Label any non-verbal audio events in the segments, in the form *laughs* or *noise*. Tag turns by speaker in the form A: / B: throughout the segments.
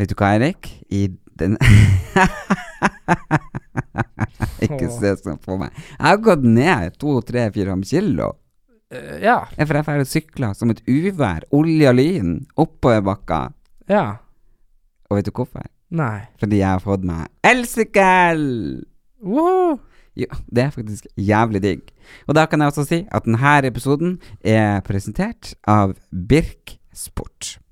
A: Vet du hva, Eirik? I den *laughs* Ikke se sånn på meg. Jeg har gått ned to, tre, fire fem kilo.
B: Eh, ja.
A: Jeg for jeg drar og sykler som et uvær, olje og lyn, oppover bakka.
B: Ja.
A: Og vet du hvorfor?
B: Nei.
A: Fordi jeg har fått meg elsykkel!
B: Woohoo!
A: Jo, det er faktisk jævlig digg. Og da kan jeg også si at denne episoden er presentert av Birk Sport.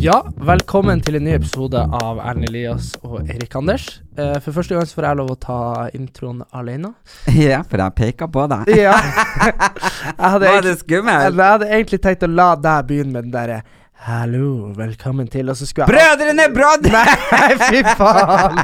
B: Ja, velkommen til en ny episode av Erlend Elias og Erik Anders. Eh, for første gang så får jeg lov å ta introen alene.
A: Ja, for jeg peker på deg.
B: Ja. *laughs* jeg hadde
A: Var
B: egentlig,
A: det skummelt?
B: jeg hadde egentlig tenkt å la deg begynne med den derre Hallo, velkommen til, og så skulle jeg
A: Brødrene Brodd!
B: *laughs* Nei, fy
A: *laughs*
B: faen!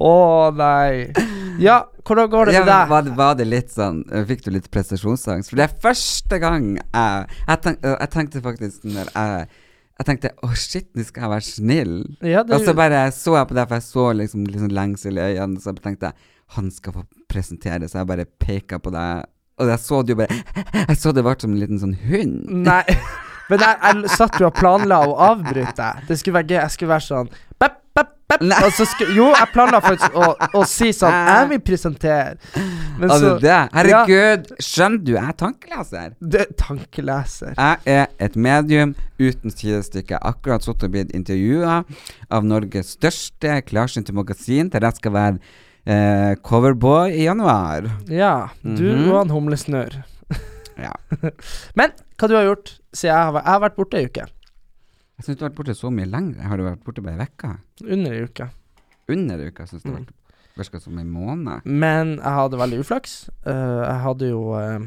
B: Å nei. Ja, hvordan går det
A: Ja,
B: med
A: men
B: deg?
A: var, det- var det litt sånn Fikk du litt prestasjonsangst? For det er første gang jeg Jeg, tenk, eh, jeg tenkte faktisk når jeg Jeg tenkte å shit, nå skal jeg være snill.
B: Ja, det,
A: Og så bare så jeg på det, for jeg så liksom, liksom lengsel i øynene, så jeg tenkte han skal få presentere, så jeg bare peka på deg. Og jeg så det jo bare *laughs* Jeg så det ble som en liten sånn hund.
B: Nei. *laughs* Men jeg, jeg satt jo og planla å avbryte deg. Det skulle være gøy. Jeg skulle være sånn bep, bep, bep.
A: Nei.
B: Og så skulle, Jo, jeg planla faktisk å, å si sånn Jeg vil presentere. Men
A: Altså,
B: så
A: det, herregud, skjønner du, jeg er tankeleser.
B: det, Tankeleser.
A: Jeg er et medium uten sidestykke. Jeg har Akkurat sittet og blitt intervjua av Norges største klarsynte magasin, der jeg skal være eh, coverboy i januar.
B: Ja. Du
A: Mhm.
B: og han humlesnørr.
A: Ja.
B: *laughs* Men hva du har gjort siden jeg har, væ- jeg har vært borte ei uke?
A: Jeg syns du har vært borte så mye lenger. Har du vært borte bare ei uke?
B: Under ei uke.
A: Under ei uke, syns jeg.
B: Mm.
A: Det virka som en måned.
B: Men jeg hadde veldig uflaks. Eh, jeg hadde jo eh,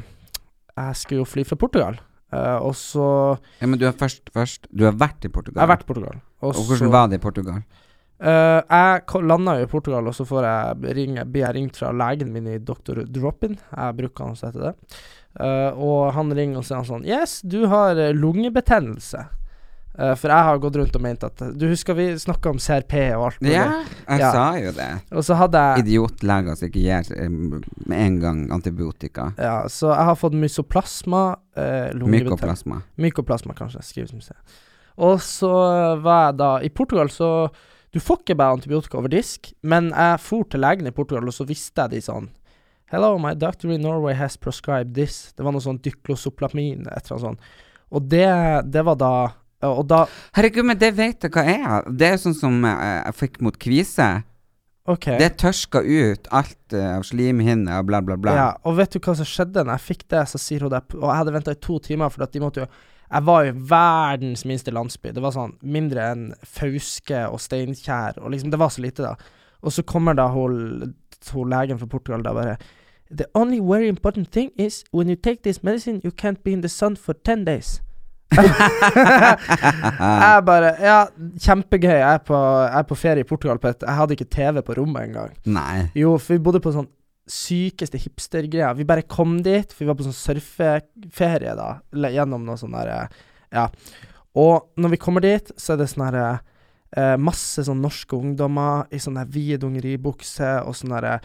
B: Jeg skulle jo fly fra Portugal, Eh, og så
A: Ja, men du har først, først Du har vært i
B: Jeg
A: Portugal.
B: har vært i Portugal.
A: og hvordan var det i Portugal?
B: Eh, jeg ko- landa jo i Portugal, og så får jeg ringe, blir jeg ringt fra legen min i Dr. Dropin. Jeg bruker han å hete det. Eh, og han ringer og sier han sånn Yes, du har eh, lungebetennelse. Eh, for jeg har gått rundt og ment at Du husker vi snakka om CRP og alt mulig.
A: Ja, jeg
B: Ja.
A: sa jo det.
B: Og så hadde jeg
A: Idiotleger som ikke gir eh, med en gang antibiotika.
B: ja, Så jeg har fått mysoplasma. eh, lungebetennelse.
A: Mykoplasma.
B: Mykoplasma, kanskje. Skrives som C. Og så var jeg da I Portugal så Du får ikke bare antibiotika over disk, men jeg for til legen i Portugal, og så visste jeg de sånn Hello, my doctor in Norway has prescribed this. Det var noe sånn dyklosoplamin, et eller annet sånt. Og det, det var da Og da
A: Herregud, men det vet jeg hva er. Det er sånn som eh, jeg fikk mot kvise.
B: OK.
A: Det tørska ut alt eh, av slimhinner og bla, bla, bla.
B: Ja, og vet du hva som skjedde når jeg fikk det? Så sier hun det, og jeg hadde venta i to timer, for at de måtte jo Jeg var i verdens minste landsby. Det var sånn mindre enn Fauske og Steinkjer, og liksom Det var så lite, da. Og så kommer da hun, hun legen fra Portugal da bare The only very important thing is when you take this medicine, you can't be in the sun for ten days. jeg bare Ja, kjempegøy. Jeg er på, jeg er på ferie i Portugal. På et, jeg hadde ikke TV på rommet engang.
A: *laughs* Nei.
B: Jo, for vi bodde på sånn sykeste hipstergreia. Vi bare kom dit, for vi var på sånn surfeferie, da, eller gjennom noe sånn derre Ja. Og når vi kommer dit, så er det sånn herre eh, Masse sånn norske ungdommer i sånn sånne vide dongeribukser og sånn derre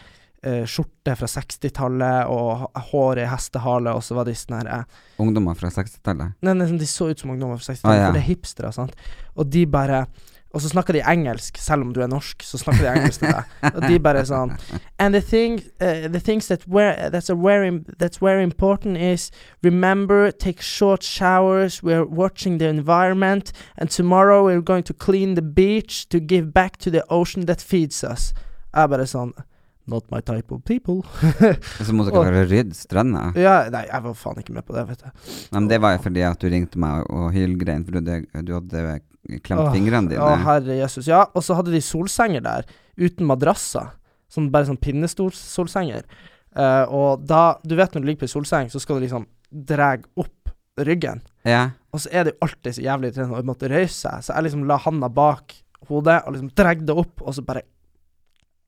B: eh, skjorte fra 60-tallet og h- hår i hestehale, og så var de sånn herre
A: Ungdommer fra 60-tallet.
B: Nei, nei, sånn, de så ut som ungdommer fra 60-tallet,
A: Ah, ja.
B: for det er hipstere, sant. Og de bare Og så snakker de engelsk, selv om du er norsk, så snakker de engelsk til deg. Og de bare sånn And the, thing, eh, the things that were, that's, a very, that's very important is Remember, take short showers, we're watching the environment And tomorrow we're going to clean the beach to give back to the ocean that feeds us. Jeg bare sånn Not my type of people.
A: Så må dere
B: Og-
A: bare rydde stranda.
B: *laughs* ja, nei, jeg var faen ikke med på det, vet du.
A: Nei, men det var jo fordi at du ringte meg og hylgrein, for du, du hadde klemt
B: Åh,
A: fingrene
B: Å,
A: dine.
B: herre Jesus. Ja, og så hadde de solsenger der, uten madrasser. Sånn, bare sånn pinnestolsenger. Eh, og da Du vet når du ligger på ei solseng, så skal du liksom dra opp ryggen.
A: Ja.
B: Og så er det jo alltid så jævlig irriterende å måtte røyse seg, så jeg liksom la handa bak hodet og liksom dregde det opp, og så bare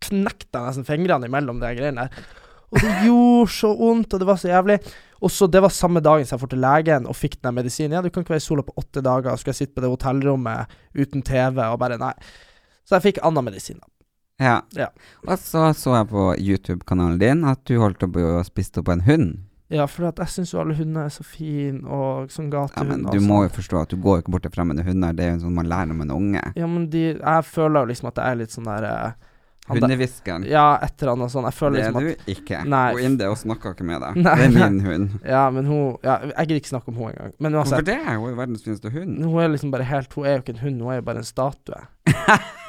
B: knekte jeg nesten fingrene imellom de greiene der. Og det gjorde så vondt, og det var så jævlig. Og så Det var samme dagen som jeg dro til legen og fikk den medisinen. Ja, du kan ikke være i sola på åtte dager, og skulle jeg sitte på det hotellrommet uten TV og bare Nei. Så jeg fikk annen medisin. da.
A: Ja.
B: Ja.
A: Og så så jeg på YouTube-kanalen din at du holdt opp å spiste opp en hund.
B: Ja, for at jeg syns jo alle hunder er så fine, og sånn
A: Ja, men
B: gatehunder
A: du
B: og
A: må
B: sånn.
A: jo forstå at du går jo ikke bort til fremmede hunder, det er jo sånn man lærer om en unge.
B: Ja, men de Jeg føler jo liksom at jeg er litt sånn der eh, han der-
A: Hundehviskeren.
B: Ja, et eller annet sånn. Jeg føler
A: Det er
B: liksom at
A: du ikke.
B: Nei.
A: Gå inn det og snakker ikke med deg.
B: *laughs* Nei.
A: Det er min hund.
B: Ja, men hun ja, Jeg gidder ikke snakke om henne engang. Men
A: Hvorfor
B: uansett,
A: det? Hun er jo verdens fineste hund.
B: hun er liksom bare helt Hun er jo ikke en hund, hun er jo bare en statue. *laughs*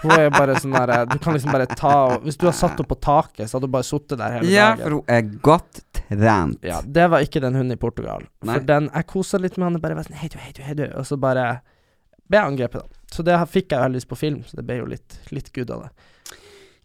B: Hun er jo bare sånn der Du kan liksom bare ta Hvis du hadde satt henne på taket, så hadde hun bare sittet der hele
A: Ja,
B: dagen.
A: for hun er godt trent.
B: Ja, det var ikke den hunden i Portugal.
A: Nei.
B: For den Jeg kosa litt med han og bare var sånn Hei du, hei du, hei du. Og så bare ble jeg angrepet, da. Så det her fikk jeg jo heldigvis på film, så det ble jo litt, litt good av det.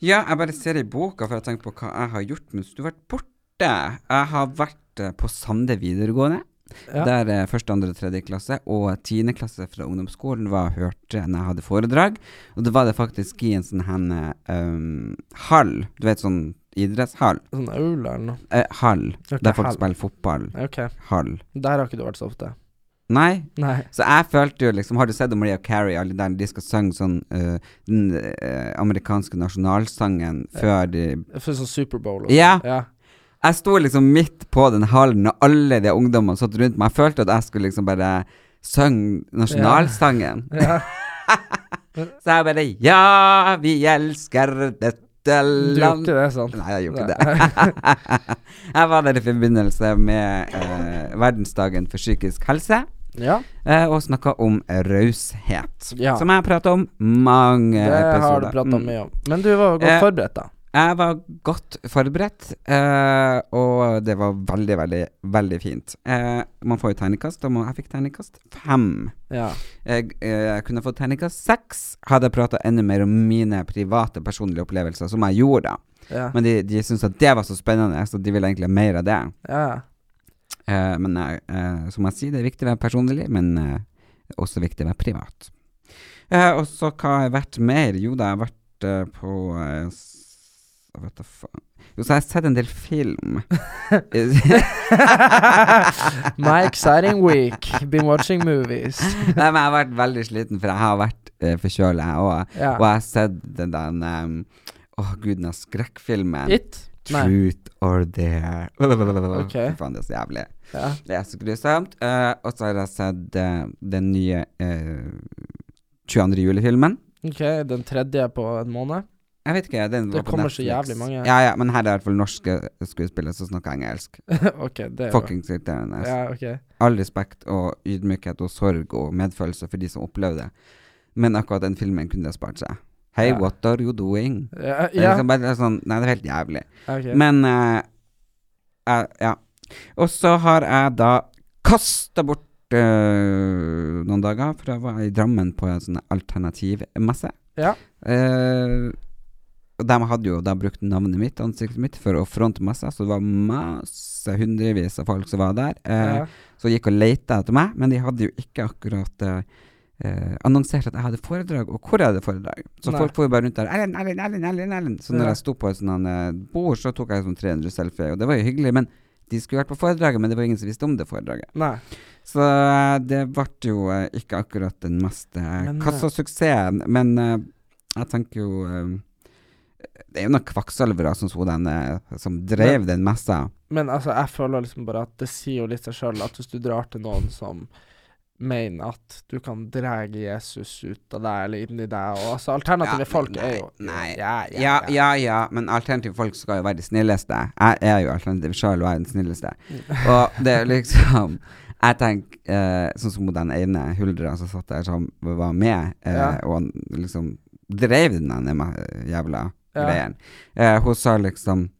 A: Ja, jeg bare ser i boka, for jeg tenker på hva jeg har gjort mens du har vært borte. Jeg har vært eh, på Sande videregående.
B: Ja.
A: Der eh, første, andre, tredje klasse og tiende klasse fra ungdomsskolen var hørte når jeg hadde foredrag. Og da var det faktisk i en sånn hen eh, um, hall, du vet sånn idrettshall.
B: Sånn aula eller noe.
A: Eh, hall,
B: Ok,
A: der folk
B: hall.
A: spiller fotball.
B: Ok,
A: Hall.
B: der har ikke du vært så ofte.
A: Nei,
B: Nei.
A: så jeg følte jo liksom Har du sett Maria Carey, alle der de skal synge sånn eh, den eh, amerikanske nasjonalsangen før de
B: For sånn Superbowl og
A: Ja.
B: sånn. ja.
A: Jeg sto liksom midt på den hallen, og alle de ungdommene satt rundt meg. Jeg følte at jeg skulle liksom bare synge nasjonalsangen.
B: Ja.
A: Så jeg bare Ja, vi elsker dette
B: Du gjorde
A: land
B: ikke det, sant?
A: Nei, jeg gjorde ikke det. *laughs* jeg var der i forbindelse med eh, verdensdagen for psykisk helse.
B: Ja.
A: eh, og snakka om raushet,
B: Ja.
A: som jeg har prata om mange
B: Det
A: episoder.
B: har du prata
A: Mm.
B: mye om. Men du var jo godt
A: Eh,
B: forberedt, da.
A: Jeg var godt forberedt, eh, og det var veldig, veldig, veldig fint. Eh, man får jo tegnekast, og man, jeg fikk tegnekast fem.
B: Ja.
A: Jeg, eh, jeg kunne fått tegnekast seks, hadde jeg prata enda mer om mine private, personlige opplevelser, som jeg gjorde da.
B: Ja.
A: Men de, de syntes at det var så spennende, så de ville egentlig ha mer av det.
B: ja. *laughs*
A: Eh, men jeg, eh, som jeg sier, det er viktig å være personlig, men eh, det er også viktig å være privat. Eh, og så hva har jeg vært mer? Jo da, jeg har vært eh, på eh, s- jeg vet da faen. Jo, så har jeg sett en del film.
B: My exciting week. Been watching movies.
A: Nei, men jeg har vært veldig sliten, for jeg har vært uh, forkjøla, jeg òg. Og
B: Ja.
A: jeg har sett den der um, Å, gud, den der skrekkfilmen.
B: It? Nei.
A: Truth or dare. *laughs* Fy Faen, det er så jævlig.
B: Ja.
A: Det er så grusomt. Eh, og så har jeg sett eh, den nye eh, 22. juli-filmen.
B: Ok, den tredje på en måned. *laughs*
A: Jeg vet ikke, den var
B: Det
A: på
B: kommer
A: Netflix.
B: så jævlig mange.
A: Ja, ja, men her er i hvert fall norske skuespillere som snakker engelsk.
B: ok, det er jo
A: Fuckings irriterende.
B: Ja, ok.
A: All respekt og ydmykhet og sorg og medfølelse for de som opplevde det. Men akkurat den filmen kunne de spart seg. Hey,
B: Ja.
A: what are you doing?
B: Ja,
A: Det er
B: ja.
A: liksom bare sånn, nei, det er helt jævlig.
B: ok.
A: Men eh, eh, Ja. Og så har jeg da kasta bort eh, noen dager, for jeg var i Drammen på en sånn alternativmesse.
B: Ja.
A: Eh, og de hadde jo da brukt navnet mitt, ansiktet mitt, for å fronte messa, så det var masse, hundrevis av folk som var der. Eh,
B: Ja.
A: Så gikk og leita etter meg, men de hadde jo ikke akkurat eh, eh, annonsert at jeg hadde foredrag, og hvor jeg hadde foredrag. Så
B: Nei.
A: folk får jo bare rundt der Erlend, Erlend, Erlend, Erlend, Erlend. Så
B: Ja.
A: når jeg sto på et sånt eh, bord, så tok jeg sånn 300 selfie, og det var jo hyggelig, men de skulle vært på foredraget, men det var ingen som visste om det foredraget.
B: Nei.
A: Så eh, det ble jo eh, ikke akkurat den mest eh,
B: Men, eh,
A: kassasuksessen, men eh, jeg tenker jo eh, Det er jo noen kvakksalvere som, så den, eh, som drev den messa.
B: Men altså, jeg føler liksom bare at det sier jo litt seg sjøl at hvis du drar til noen som mener at du kan dra Jesus ut av deg eller inn i deg, og altså alternative
A: Ja,
B: folk
A: nei,
B: er jo
A: nei.
B: Ja, ja,
A: Ja, ja, ja, men alternative folk skal jo være de snilleste. Jeg er jo alternativ sjøl og er den snilleste.
B: Mm.
A: Og det er liksom Jeg tenker eh, sånn som den ene huldra som satt der, som var med, eh,
B: Ja.
A: og han liksom dreiv den ene ma- eh, jævla
B: Ja.
A: greien. Eh, hun sa liksom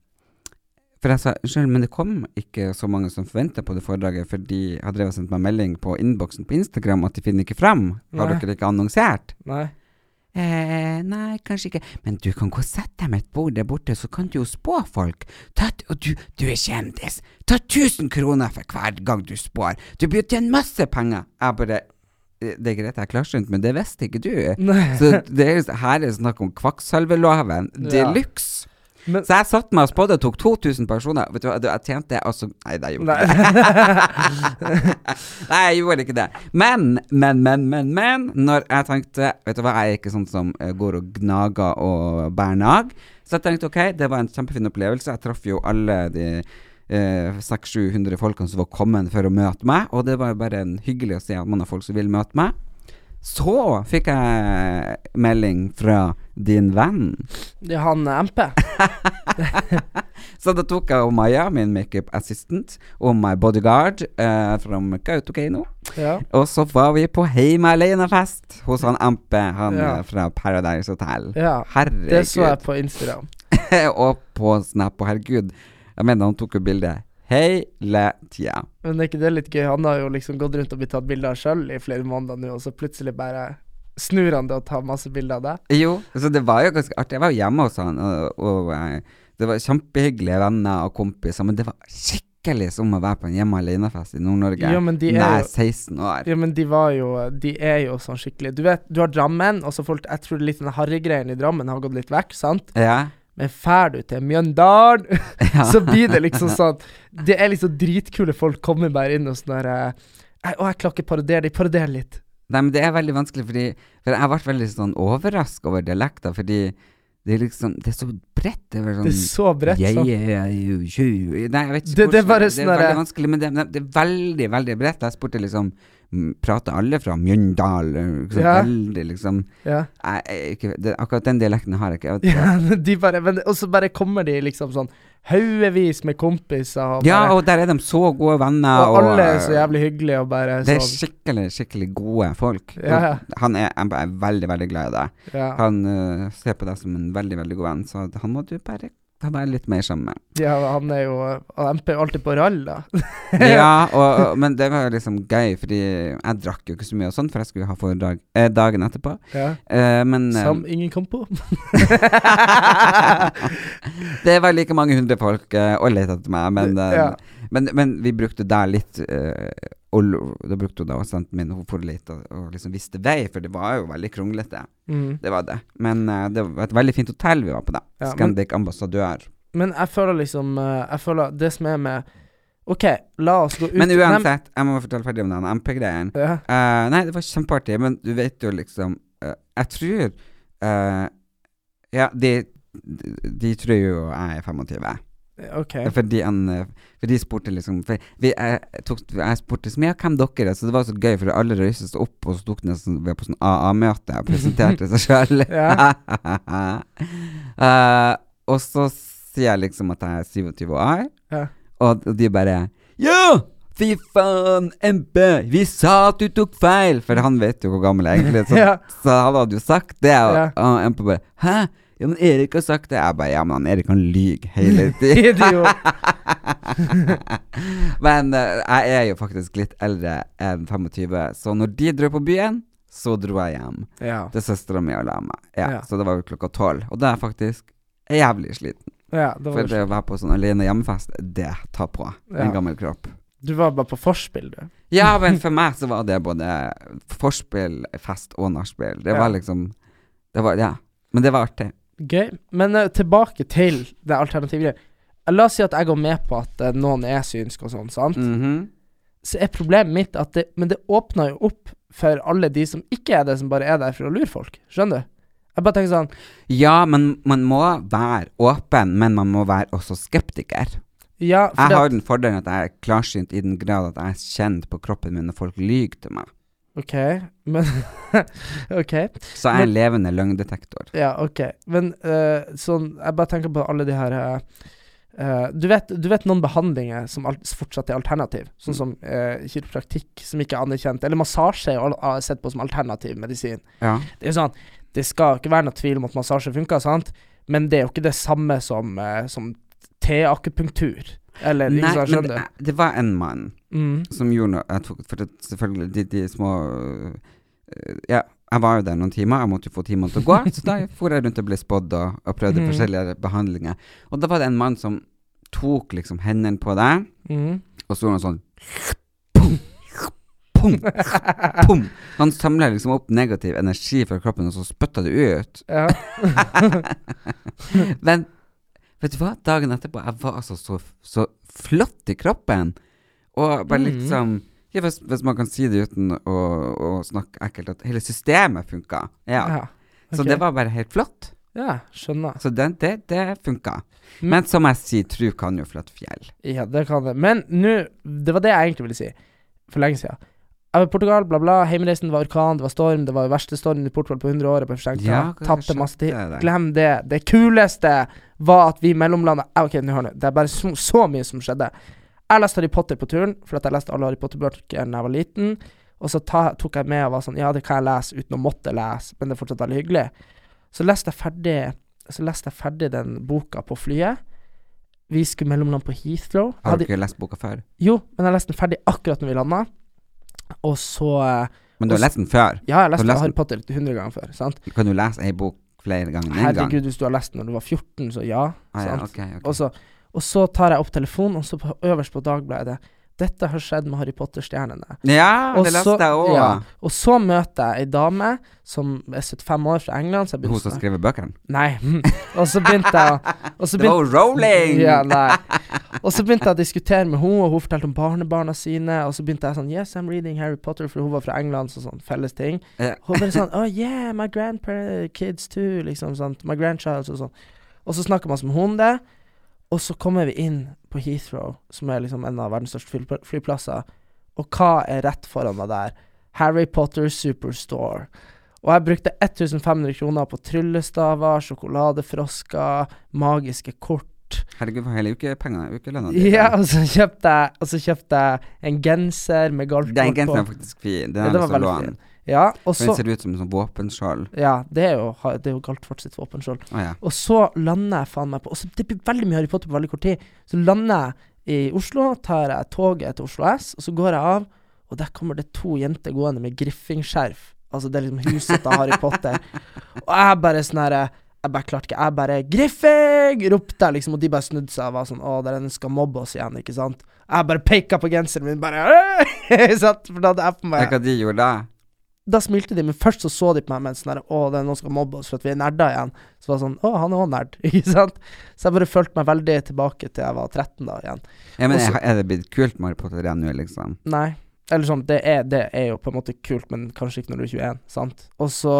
A: For jeg sa unnskyld, men det kom ikke så mange som forventa på det foredraget, for de har drevet og sendt meg melding på innboksen på Instagram at de finner ikke fram. Har
B: Nei.
A: dere ikke annonsert?
B: Nei.
A: Eh, nei, kanskje ikke. Men du kan gå og sette deg med et bord der borte, så kan du jo spå folk. Ta, t- og du, du er kjendis. Ta 1000 kroner for hver gang du spår. Du blir jo tjent masse penger. Jeg bare eh, Det er greit jeg er klarsynt, men det visste ikke du.
B: Nei. *laughs*
A: Så det er, jo- her er det snakk om kvakksalveloven de
B: Ja.
A: luxe.
B: Men-
A: Så jeg satt meg og spådde og tok 2000 personer. Vet du hva, du, jeg tjente altså Nei, nei, jeg gjorde ikke det. Nei, jeg gjorde ikke det. Men, men, men, men, men. Når jeg tenkte Vet du hva, jeg er ikke sånn som eh, går og gnager og bærer nag. Så jeg tenkte ok, det var en kjempefin opplevelse. Jeg traff jo alle de eh, 600-700 folkene som var kommet for å møte meg, og det var jo bare en hyggelig å se at man har folk som vil møte meg. Så fikk jeg melding fra din venn.
B: Det er han eh, MP.
A: Så da tok jeg og Maja, min makeup assistant, og my bodyguard eh, fra Kautokeino.
B: Ja.
A: Og så var vi på Heime alene-fest hos han Ampe, han
B: Ja.
A: eh, fra Paradise Hotel.
B: ja.
A: Herregud.
B: Det så jeg på Instagram.
A: *laughs* og på Snap, og herregud. Jeg mener, han tok jo bilde hele tida.
B: Men er ikke det litt gøy? Han har jo liksom gått rundt og blitt tatt bilder av sjøl i flere måneder nå, og så plutselig bare snur han det og tar masse bilder av deg.
A: Jo, så det var jo ganske artig. Jeg var jo hjemme hos han, og, og eh, det var kjempehyggelige venner og kompiser, men det var skikkelig som å være på en hjemme alene-fest i Nord-Norge
B: Jo, men de er
A: når jeg
B: jo-
A: er 16 år.
B: Ja, men de var jo De er jo sånn skikkelig Du vet, du har Drammen, og så folk Jeg tror litt den harrygreien i Drammen har gått litt vekk, sant?
A: Ja.
B: Men fær du til Mjøndalen, *laughs*
A: Ja.
B: så blir det liksom sånn Det er liksom dritkule folk kommer bare inn og sånn der eh, Å, jeg klarer ikke parodiere de Parodier litt.
A: Nei, men det er veldig vanskelig, fordi For jeg ble veldig sånn overraska over dialekter, fordi det er liksom Det er så bredt. Det er sånn
B: Det er så bredt.
A: jeg,
B: sånn.
A: jeg, jeg, jeg, jeg. Nei, jeg vet ikke
B: Det- det er
A: hvordan- det
B: bare
A: er
B: sånn der-
A: veldig vanskelig, men det, men det er veldig, veldig bredt. Jeg spurte liksom mm, Prater alle fra Mjøndal? Liksom,
B: Ja.
A: Veldig, liksom
B: Ja. *laughs*
A: jeg, jeg, ikke, det, Akkurat den dialekten har jeg ikke. Jeg,
B: ja men de bare, men, og så bare kommer de liksom sånn haugevis med kompiser, og,
A: ja,
B: bare,
A: og der er de så gode venner, eh,
B: og, alle er så jævlig hyggelige, og bare
A: Det er
B: sånn
A: skikkelig, skikkelig gode folk.
B: Ja, ja.
A: Han er, jeg er veldig, veldig glad i deg.
B: Ja.
A: Han eh, ser på deg som en veldig, veldig god venn, så at han må du bare ta deg litt mer sammen
B: *laughs*
A: med.
B: ja, han er jo og MP er jo alltid på rall, da.
A: Ja, og, og- men det var jo liksom gøy, fordi jeg drakk jo ikke så mye og sånn, for jeg skulle ha foredrag eh, dagen etterpå.
B: Ja.
A: Eh, men eh,
B: Som ingen kom på.
A: *laughs* det var like mange hundre folk eh, og lette etter meg, men, eh,
B: Ja.
A: men, men vi brukte der litt eh, og lo- da brukte hun da assistenten min, hun for litt og, og liksom viste vei, for det var jo veldig kronglete.
B: Mm.
A: Det var det. Men eh, det var et veldig fint hotell vi var på, da.
B: Ja, men-
A: Scandic Ambassadør.
B: Men jeg føler liksom eh, Jeg føler det som er med OK, la oss gå ut
A: Men
B: Nei,
A: uansett, jeg må fortelle ferdig om den MP-greien.
B: men- ja.
A: Eh, nei, det var kjempeartig, men du vet jo liksom eh, Jeg tror eh, Ja, de, de, de tror jo jeg er 25. *laughs*
B: OK. *laughs*
A: Fordi han eh, For de spurte liksom for vi, jeg, tok, jeg spurte så mye hvem dere er, så det var så gøy, for alle røyste seg opp, og så tok de nesten vi var på sånn AA-møte og
B: *laughs*
A: presenterte seg sjøl.
B: Ja.
A: *laughs* Eh, og så sier jeg liksom at jeg er 27 år,
B: Ja.
A: og og de bare Ja! Fy faen, MP! Vi sa at du tok feil! For han vet jo hvor gammel jeg egentlig er. Så,
B: *laughs* Ja.
A: så han hadde jo sagt det. Og,
B: Ja.
A: og MP bare Hæ? Ja, men Erik har sagt det. Jeg bare Ja, men han Erik han lyver
B: *laughs*
A: hele tiden.
B: Idiot.
A: *laughs* Men eh, jeg er jo faktisk litt eldre enn 25, så når de dro på byen, så dro jeg hjem.
B: Ja.
A: Det er søstera mi og la meg. Ja,
B: Ja.
A: Så det var jo klokka tolv. Og da er jeg faktisk jævlig sliten.
B: ja det
A: For
B: var,
A: det å være på sånn alene hjemmefest, det tar på
B: Ja.
A: en gammel kropp.
B: du var bare på forspill, du.
A: Ja, men for meg så var det både forspill, fest og nachspiel. Det
B: Ja.
A: var liksom Det var Ja. Men det var artig.
B: Gøy. Men eh, tilbake til det alternative greiet. La oss si at jeg går med på at eh, noen er synsk og sånn, sant.
A: Mhm.
B: Så er problemet mitt at det Men det åpner jo opp for alle de som ikke er det, som bare er der for å lure folk. Skjønner du? Jeg bare tenker sånn
A: Ja, men man må være åpen, men man må være også skeptiker.
B: Ja,
A: Jeg
B: det-
A: har den fordelen at jeg er klarsynt i den grad at jeg er kjent på kroppen min når folk lyver til meg.
B: OK, men *laughs* OK.
A: Så jeg er en levende løgndetektor.
B: Ja, OK. Men eh, sånn Jeg bare tenker på alle de her eh, eh, du, vet, du vet noen behandlinger som al fortsatt er alternativ, sånn
A: Mm.
B: som eh, kiropraktikk, som ikke er anerkjent, eller massasje er jo al- er sett på som alternativ medisin.
A: Ja.
B: Det er jo sånn, det skal jo ikke være noe tvil om at massasje funker, sant, men det er jo ikke det samme som, eh, som T-akupunktur, eller
A: Nei,
B: ikke sant,
A: men
B: skjønner
A: det,
B: du?
A: det var en mann
B: Mm.
A: som gjorde noe jeg tok, For det, selvfølgelig, de, de små øh, Ja, jeg var jo der noen timer, jeg måtte jo få timene til å *laughs* gå, så da for jeg rundt og ble spådd og, og prøvde
B: Mhm.
A: forskjellige behandlinger. Og da var det en mann som tok liksom hendene på deg, *laughs*
B: Mm.
A: og så gjorde han sånn Pum! Pum!
B: *laughs*
A: Pum! *laughs* Han samla liksom opp negativ energi fra kroppen, og så spytta det ut.
B: Ja.
A: *laughs* Men Vet du hva? Dagen etterpå, jeg var altså så, så flott i kroppen. Og bare
B: Mm.
A: liksom ja, hvis, hvis man kan si det uten å, å snakke ekkelt, at hele systemet funka. Ja. Så
B: ok.
A: det var bare helt flott.
B: Ja, skjønner.
A: Så den, det, det funka.
B: Mm.
A: Men som jeg sier, tru kan jo flytte fjell.
B: Ja, det kan det. Men nå Det var det jeg egentlig ville si for lenge siden. Jeg var i Portugal, bla, bla. Hjemreisen var orkan, det var storm. Det var jo verste stormen i Portugal på 100 år. Jeg ble forsinket.
A: Ja, hva
B: Tapte
A: skjedde
B: masse tid.
A: der?
B: Glem det. Det kuleste var at vi mellomlanda Ah, OK, nå hør nå. Det er bare så, så mye som skjedde. Jeg leste Harry Potter på turen, for at jeg leste alle Harry Potter-bøker da jeg var liten. Og så ta, tok jeg med og var sånn Ja, det kan jeg lese uten å måtte lese, men det er fortsatt veldig hyggelig. Så leste jeg ferdig Så leste jeg ferdig den boka på flyet. Vi skulle mellomland på Heathrow. Jeg
A: Har du
B: hadde,
A: ikke lest boka før?
B: jo, men jeg leste den ferdig akkurat når vi landa. Og så eh,
A: Men du har
B: Også-
A: lest den før.
B: Ja, jeg
A: Har du
B: leste
A: lest
B: Harry
A: den?
B: Potter 100 ganger før. sant?
A: Kan du lese ei bok flere ganger enn én gang?
B: Herregud, hvis du har lest den når du var 14, så ja.
A: Ah, ja,
B: sant?
A: ok, ok.
B: Og, så, og så tar jeg opp telefonen, og så på, øverst på Dagbladet Dette har skjedd med Harry Potter-stjernene.
A: ja,
B: Og
A: det
B: så-
A: leste jeg òg.
B: ja, og så møter jeg ei dame som er 75 år fra England. Så jeg
A: Hun
B: begynte
A: som
B: å snakke
A: skriver bøkene.
B: Nei. *laughs* Og så begynte jeg å og så
A: Det var jo Rowling!
B: Ja, nei. Og så begynte jeg å diskutere med henne, og hun fortalte om barnebarna sine. Og så begynte jeg sånn Yes, I'm reading Harry Potter, for hun var fra England, så sånn felles ting.
A: Ja.
B: Hun bare sånn Oh yeah, my grandparents, kids too, liksom. Sant? My grandchilds og sånn. Og så snakker man som hun om det. Og så kommer vi inn på Heathrow, som er liksom en av verdens største flypl- flyplasser. Og hva er rett foran meg der? Harry Potter Superstore. Og jeg brukte 1500 kroner på tryllestaver, sjokoladefrosker, magiske kort.
A: Herregud, for hele ukepengene, ukelønna di.
B: Ja, og så kjøpte jeg, og så kjøpte jeg en genser med
A: Den
B: golfkort
A: genseren
B: på.
A: er faktisk fin. Den
B: Ja,
A: har
B: den
A: jeg lyst
B: var
A: til å låne.
B: veldig fin. Ja, og
A: For Den
B: så
A: ser ut som en sånn våpenskjold.
B: Ja, det er jo, ha- det er jo Galtvort sitt våpenskjold.
A: Å ja.
B: Og så lander jeg faen meg på og så Det blir veldig mye Harry Potter på veldig kort tid. Så lander jeg i Oslo, tar jeg toget til Oslo S, og så går jeg av, og der kommer det to jenter gående med griffingskjerf. Altså, det er liksom huset til Harry Potter. Og jeg bare sånn herre jeg bare klarte ikke Jeg bare 'Griffing!' ropte jeg, liksom, og de bare snudde seg og var sånn 'Å, det er den skal mobbe oss igjen', ikke sant? Jeg bare peka på genseren min, bare *laughs* «Øy!» sant? For da hadde jeg på meg
A: Tenk hva de gjorde da.
B: da smilte de, men først så så de på meg med en sånn der, Å, det er noen som skal mobbe oss for at vi er nerder igjen. Så var det sånn Å, han er òg nerd. *laughs* Ikke sant? Så jeg bare følte meg veldig tilbake til jeg var 13 da igjen.
A: Ja, men
B: Også-
A: er- Er det blitt kult med Harry Potter igjen nå, liksom?
B: Nei. Eller sånn, det er, det er jo på en måte kult, men kanskje ikke når du er 21, sant? Og så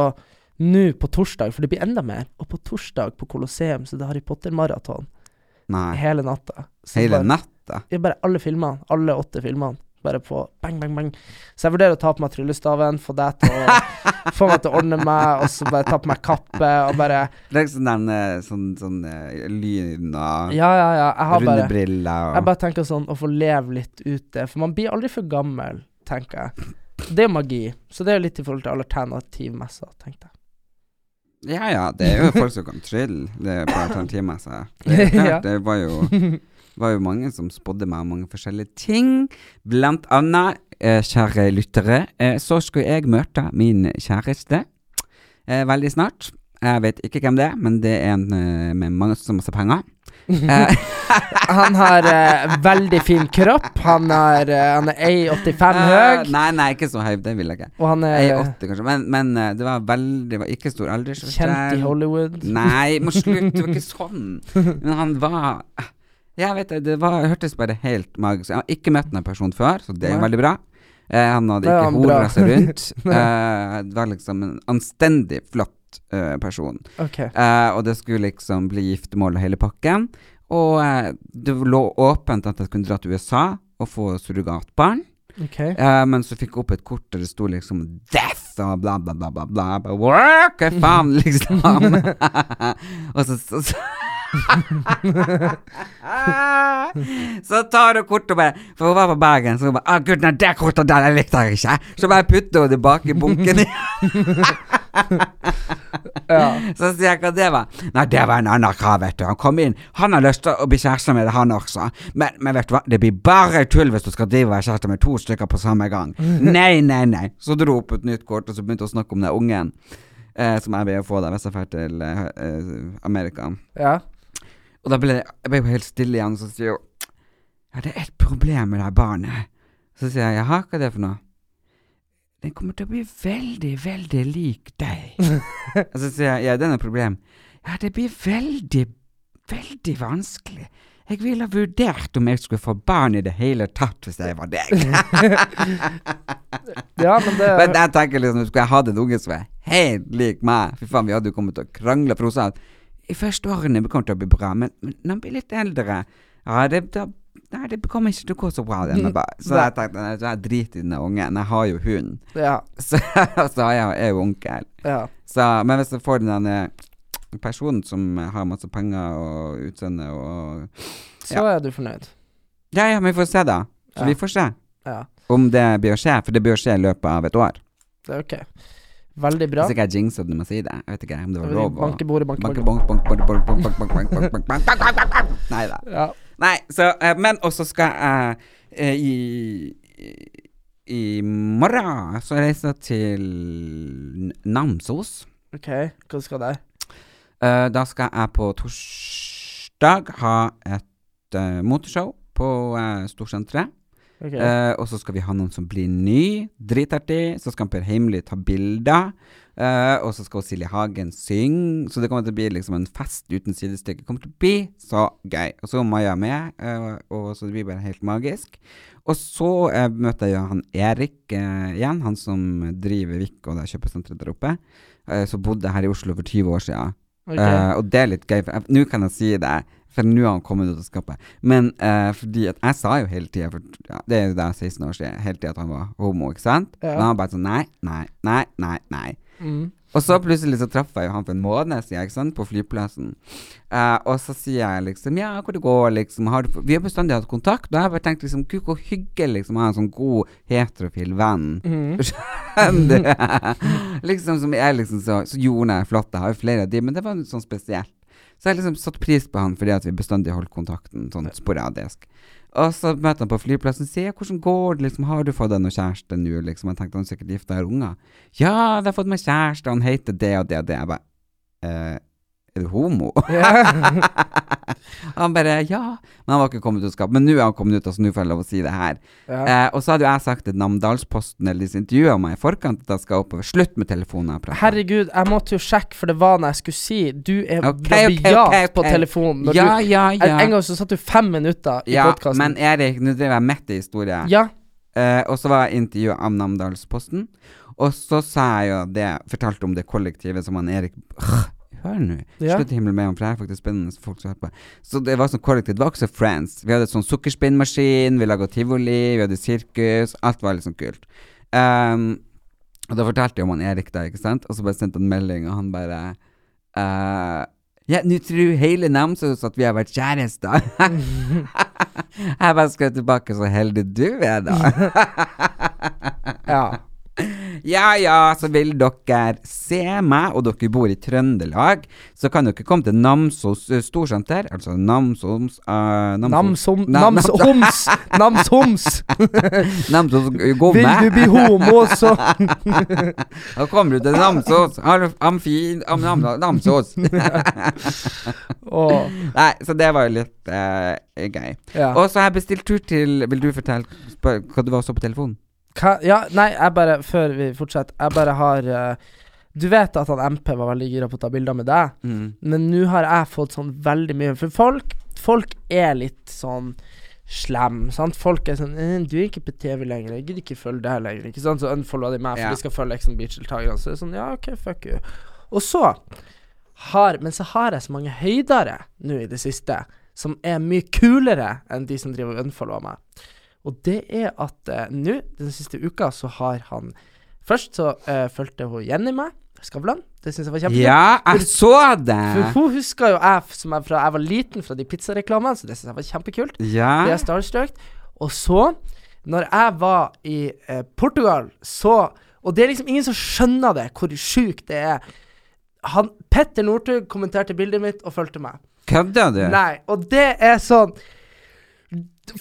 B: nå på torsdag, for det blir enda mer, og på torsdag på Colosseum så det er Harry Potter-maraton
A: Nei.
B: hele natta. Så
A: Hele
B: bare-
A: natta?
B: Ja, bare alle filmene. Alle åtte filmene. Bare på bang, bang, bang. Så jeg vurderer å ta på meg tryllestaven, få deg
A: *laughs*
B: til å Få meg til å ordne meg, og så bare ta på meg kappe, og bare
A: Legg sånn den eh, sånn, sånn eh, lyn og
B: Ja, ja, ja. Jeg har
A: runde
B: bare
A: briller og
B: Jeg bare tenker sånn å få leve litt ute, for man blir aldri for gammel, tenker jeg. Det er magi. Så det er jo litt i forhold til alternativmesser, tenkte jeg.
A: Ja ja, det er jo folk som kan trylle det er på alternativmessa.
B: *laughs*
A: Det, er
B: Ja.
A: klart, det var, jo, *laughs* var jo mange som spådde meg om mange forskjellige ting. Blant annet, eh, kjære lyttere, eh, så skulle jeg møte min kjæreste eh, veldig snart. Jeg vet ikke hvem det er, men det er en eh, med masse, masse penger. Eh,
B: Mhm. *laughs* Han har eh, veldig fin kropp. Han, har, eh, han er A85
A: eh,
B: høy,
A: Nei, nei, ikke så høy, det vil jeg ikke.
B: *laughs* og han
A: Jeg er
B: er eh,
A: 80 kanskje, men, men eh, det var veldig det var ikke stor aldersforskjell.
B: kjent i Hollywood.
A: Mm. Nei, må slutt, det var ikke sånn. Men han var Jeg vet det, det var, hørtes bare helt magisk Jeg har ikke møtt denne personen før, så det er jo
B: Nei.
A: veldig bra. Eh, han hadde
B: Det er
A: ikke
B: han
A: hora
B: bra.
A: seg
B: *laughs*
A: rundt. Eh, det var liksom en anstendig flott eh, person.
B: Ok.
A: Eh, og det skulle liksom bli giftermål og hele pakken. Og eh, det lå åpent at jeg kunne dra til USA og få surrogatbarn.
B: ok
A: Eh, men så fikk jeg opp et kort der det sto liksom 'death' og bla, bla, bla, bla, bla. bla. Wow, Hva faen, *laughs* liksom? og så, så, *laughs* så Så tar hun kortet og bare For hun var på Bergen, så hun bare ah, 'Gud, nei, det kortet der, jeg likte jeg ikke'. Så bare putter hun det bak i bunken.
B: Ja.
A: Så sier jeg hva det var. Nei, det var en annen kar, vet du. Han kom inn. Han har lyst til å bli kjæreste med det, han også. Men, men vet du hva, det blir bare tull hvis du skal drive og være kjæreste med to stykker på samme gang. Nei, nei, nei. Så dro hun opp et nytt kort, og så begynte hun å snakke om den ungen. Eh, som jeg vil få da, hvis jeg drar til eh, eh, Amerika.
B: ja.
A: Og da ble jeg- jeg ble jo helt stille igjen, og så sier hun Ja, det er et problem med det her barnet. Så sier jeg jaha, hva er det for noe? Den kommer til å bli veldig, veldig lik deg. og så sier jeg ja, det er noe problem. Ja, det blir veldig veldig vanskelig. Jeg ville ha vurdert om jeg skulle få barn i det hele tatt hvis jeg var deg.
B: Ja, men det
A: *laughs* Men jeg tenker liksom, skulle jeg hatt en unge som er helt lik meg Fy faen, vi hadde jo kommet til å krangle for hun sa at i første årene kommer det til å bli bra, men men når han blir litt eldre ja, det, da, Nei, det kommer ikke til å gå så bra. Det, men bare. Så jeg tenkte nei, så jeg driter i den ungen. Jeg har jo hund.
B: Ja.
A: *laughs* Så, så har jeg er jo onkel.
B: ja.
A: Så, men hvis jeg får den der, eh, personen som har masse penger og utseende og
B: Så
A: Ja.
B: er du fornøyd.
A: Ja, ja, men vi får se, da. Så
B: Ja.
A: vi får se
B: Ja.
A: om det bør skje, for det bør skje i løpet av et år.
B: Det er ok. Veldig bra.
A: Hvis ikke jeg jinxer det med å si det. Jeg vet ikke om det var lov å
B: Banke bordet, banke
A: Banke,
B: bordet.
A: bank, bank, bank, bank, bank, bank, bank, bank, bank, bank, bank, bank, bank, bank, bank. Nei da.
B: Ja.
A: Nei, så eh, Men også skal jeg eh, i I morgen så reiser jeg til N- Namsos.
B: OK, hva skal der?
A: Eh, da skal jeg på torsdag ha et eh, moteshow på eh, Storsenteret.
B: Ok.
A: Eh, og så skal vi ha noen som blir ny, dritartig. Så skal Per Heimly ta bilder. eh, og så skal Silje Hagen synge. Så det kommer til å bli liksom en fest uten sidestykke. Det kommer til å bli så gøy. Og så er Maja med, eh, og så det blir bare helt magisk. Og så eh, møter jeg jo han Erik eh, igjen, han som driver Vik og det kjøpesenteret der oppe. eh, som bodde her i Oslo for 20 år siden.
B: Ok.
A: Eh, og det er litt gøy, for jeg- nå kan jeg si det, for nå har han kommet ut av skapet. Men eh, fordi at jeg sa jo hele tida, for ja, det er jo da 16 år siden, hele tida at han var homo, ikke sant?
B: Ja.
A: Men han bare sånn nei, nei, nei, nei, nei.
B: Mm.
A: Og så plutselig så traff jeg jo han for en måned siden, ikke sant, på flyplassen. Eh, og så sier jeg liksom ja, hvor det går, liksom. Har du, vi har bestandig hatt kontakt, og jeg har bare tenkt liksom gud, hvor hyggelig liksom, å ha en sånn god heterofil venn.
B: Mm.
A: Enn det. *laughs* liksom som er liksom så, så Jon er flott, jeg har jo flere av de, men det var noe sånn spesielt. Så jeg liksom satt pris på han fordi at vi bestandig holdt kontakten sånn sporadisk. Og så møter han på flyplassen og sier 'hvordan går det', liksom 'har du fått deg noen kjæreste nå', liksom. Jeg tenkte han er sikkert gifta og har unger. 'Ja, jeg har fått meg kjæreste, han heter det og det og det'. Jeg bare eh, 'er du homo?'
B: *laughs*
A: *laughs*
B: Ja.
A: han bare 'ja', men han var ikke kommet ut av skapet. Men nå er han kommet ut, og så nå får jeg lov å si det her.
B: ja.
A: Eh, og så hadde jo jeg sagt til Namdalsposten eller de som intervjua meg i forkant at jeg skal oppover. Slutt med telefonapparatet.
B: Herregud, jeg måtte jo sjekke, for det var når jeg skulle si Du er
A: Ok, ok,
B: rabiat
A: ok,
B: på
A: ok.
B: telefonen. Når
A: Ja, ja,
B: du, en,
A: ja.
B: en gang så satt du fem minutter i
A: ja,
B: podkasten.
A: men Erik, nå driver jeg midt i historie.
B: ja.
A: Eh, og så var jeg intervjua av Namdalsposten, og så sa jeg jo det Fortalte om det kollektivet som han Erik Åh, Hør nå.
B: Ja.
A: Slutt å himle med om, for det er faktisk spennende folk som hører på. Så det var sånn kollektiv. Det var også Friends. Vi hadde sånn sukkerspinnmaskin, vi laga tivoli, vi hadde sirkus. Alt var liksom kult. Ehm, og da fortalte jeg om han Erik, da, ikke sant? Og så bare sendte han melding, og han bare eh, Ja, nå tror hele Namsos at vi har vært kjærester. *laughs* jeg bare skrev tilbake, så heldig du er, da.
B: ja.
A: Ja ja, så vil dere se meg, og dere bor i Trøndelag, så kan dere komme til Namsos eh, Storsenter, altså Namsoms eh, Namsos,
B: Namsom...
A: Nam- *laughs*
B: Namsoms! Namsoms!
A: Namsos eh,
B: Vil
A: Gomme.
B: du bli homo, så
A: *laughs* Da kommer du til Namsos. Har- Amfi... Am, nam,
B: *laughs*
A: Namsos.
B: Åh,
A: Nei, så det var jo litt eh, gøy.
B: ja.
A: Og så har jeg bestilt tur til Vil du fortelle spør, hva du var så på telefonen?
B: Hva, ja, nei, jeg bare Før vi fortsetter, jeg bare har eh, Du vet at han MP var veldig gira på å ta bilder med deg, men nå har jeg fått sånn veldig mye For folk, folk er litt sånn slem, sant? Folk er sånn «Eh, 'Du er ikke på TV lenger, jeg gidder ikke følge deg lenger.' Ikke sant? Så unfollower de meg, for
A: Ja.
B: de skal følge Exon Beach-deltakerne. Så det er sånn Ja, OK, fuck you. Og så har Men så har jeg så mange høydere nå i det siste, som er mye kulere enn de som driver og unfollower meg. Og det er at eh, nå, den siste uka, så har han Først så uh, fulgte hun Jenny meg, Skavlan. Det syns jeg var kjempefint.
A: Ja, jeg så
B: For
A: det!
B: hun husker jo jeg f- som jeg, fra jeg var liten, fra de pizzareklamene, så det syns jeg var kjempekult. Det
A: Ja.
B: er starstruck. Og så, når jeg var i eh, Portugal, så Og det er liksom ingen som skjønner det, hvor sjukt det er. Han, Petter Northug kommenterte bildet mitt og fulgte meg.
A: Kødder du?
B: Nei, og det er sånn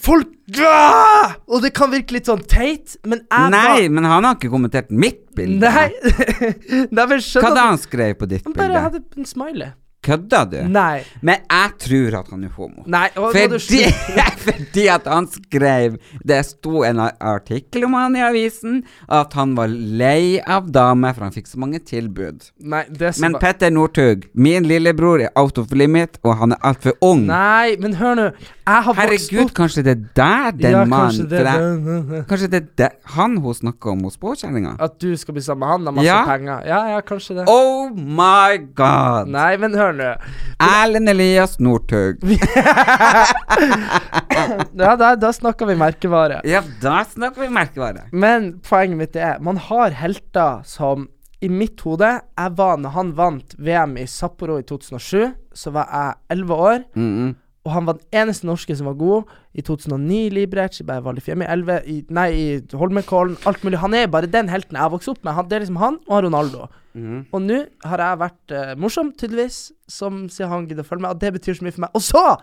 B: Folk Åh! Og det kan virke litt sånn teit, men jeg
A: Nei, men han har ikke kommentert mitt bilde.
B: var Nei! *laughs* Nei, men
A: Hva da
B: skjønner du
A: han skrev på ditt
B: Han bare
A: bilde?
B: hadde en smiley.
A: kødder du?
B: Nei.
A: Men jeg tror at han er homo.
B: Nei. å, nå er du
A: Fordi, *laughs*
B: slutt.
A: fordi at han skrev Det sto en ar- artikkel om han i avisen, at han var lei av damer, for han fikk så mange tilbud.
B: Nei, det som
A: Men
B: var-
A: Petter Northug, min lillebror, er out of limit, og han er altfor ung.
B: Nei, men hør nå. Jeg har vokst
A: Herregud,
B: opp
A: kanskje det er der den
B: Ja,
A: mannen
B: kanskje det,
A: for jeg-
B: det- det- det.
A: Kanskje det er der, han hun snakker om hos påkjenninga?
B: At du skal bli sammen med han, har masse
A: Ja.
B: penger. Ja, ja, kanskje det.
A: Oh my god!
B: Nei, men hør nå.
A: Erlend Elias Northug.
B: Ja, da, da snakker vi merkevare.
A: Ja, da snakker vi merkevare.
B: Men poenget mitt er, man har helter som I mitt hode jeg var, Når han vant VM i Sapporo i 2007, så var jeg 11 år.
A: Mm -mm.
B: Og han var den eneste norske som var god i 2009 i Librecht, i Berg- Valdrefjell, i 11, i, nei, i Holmenkollen, alt mulig. Han er bare den helten jeg har vokst opp med. Han, det er liksom han og Ronaldo.
A: Mhm.
B: Og nå har jeg vært eh, morsom, tydeligvis, som sier han gidder å følge meg, og det betyr så mye for meg. Og så!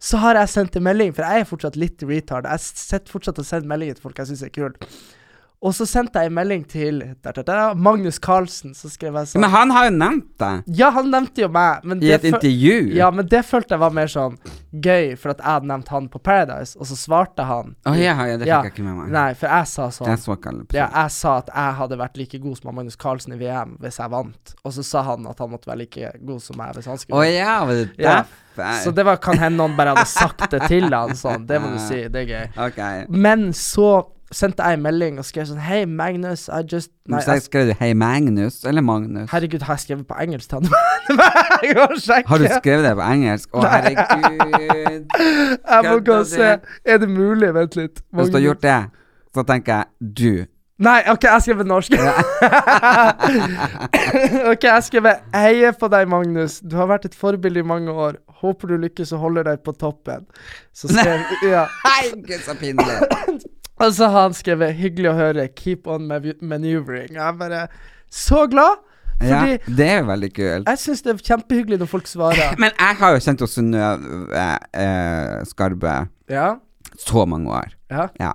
B: Så har jeg sendt en melding, for jeg er fortsatt litt retard. Jeg sitter fortsatt og sender meldinger til folk jeg syns er kult. Og så sendte jeg en melding til da, da, da, Magnus Carlsen, så skrev jeg sånn
A: Men han har jo nevnt deg
B: Ja, han nevnte jo meg, men
A: i
B: det
A: et
B: fø-
A: intervju.
B: ja, men det følte jeg var mer sånn gøy, for at jeg hadde nevnt han på Paradise, og så svarte han.
A: Å ja, ja, Ah, det fikk
B: Ja.
A: jeg ikke med meg.
B: Nei, for jeg sa sånn.
A: Jeg så ikke alle
B: Ja,
A: episoder.
B: jeg sa at jeg hadde vært like god som han Magnus Carlsen i VM hvis jeg vant, og så sa han at han måtte være like god som meg hvis han
A: Å
B: skulle vinne.
A: ja, var det
B: Ja.
A: derfor?
B: Så det var, kan hende noen bare hadde sagt det til han sånn. Det må du si, det er gøy.
A: Ok.
B: Men så sendte jeg en melding og skrev sånn Hei, Magnus, I just Nei,
A: så jeg
B: jeg,
A: skrev du 'Hei, Magnus' eller 'Magnus'?
B: herregud, har jeg skrevet på engelsk til han? *laughs* jeg må sjekke.
A: Har du skrevet det på engelsk? Å, herregud.
B: Jeg må gå
A: Kødder
B: og se. Er det mulig? Vent litt.
A: Hvis du har gjort det, så tenker jeg 'du'.
B: Nei, ok, jeg skriver norsk. *laughs* ok, jeg skriver Heier på deg, Magnus. Du har vært et forbilde i mange år. Håper du lykkes og holder deg på toppen. Så *laughs* skrev ja.
A: Hei, *laughs* gud, så pinlig.
B: Og så har han skrevet 'Hyggelig å høre. Keep on mav- maneuvering'. Jeg er bare så glad,
A: Ja,
B: fordi
A: det er jo veldig kult.
B: jeg syns det er kjempehyggelig når folk svarer.
A: Men jeg har jo kjent hos Synnøve eh, eh, Skarbe
B: *laughs* Ja,
A: så mange år.
B: ja,
A: Ja.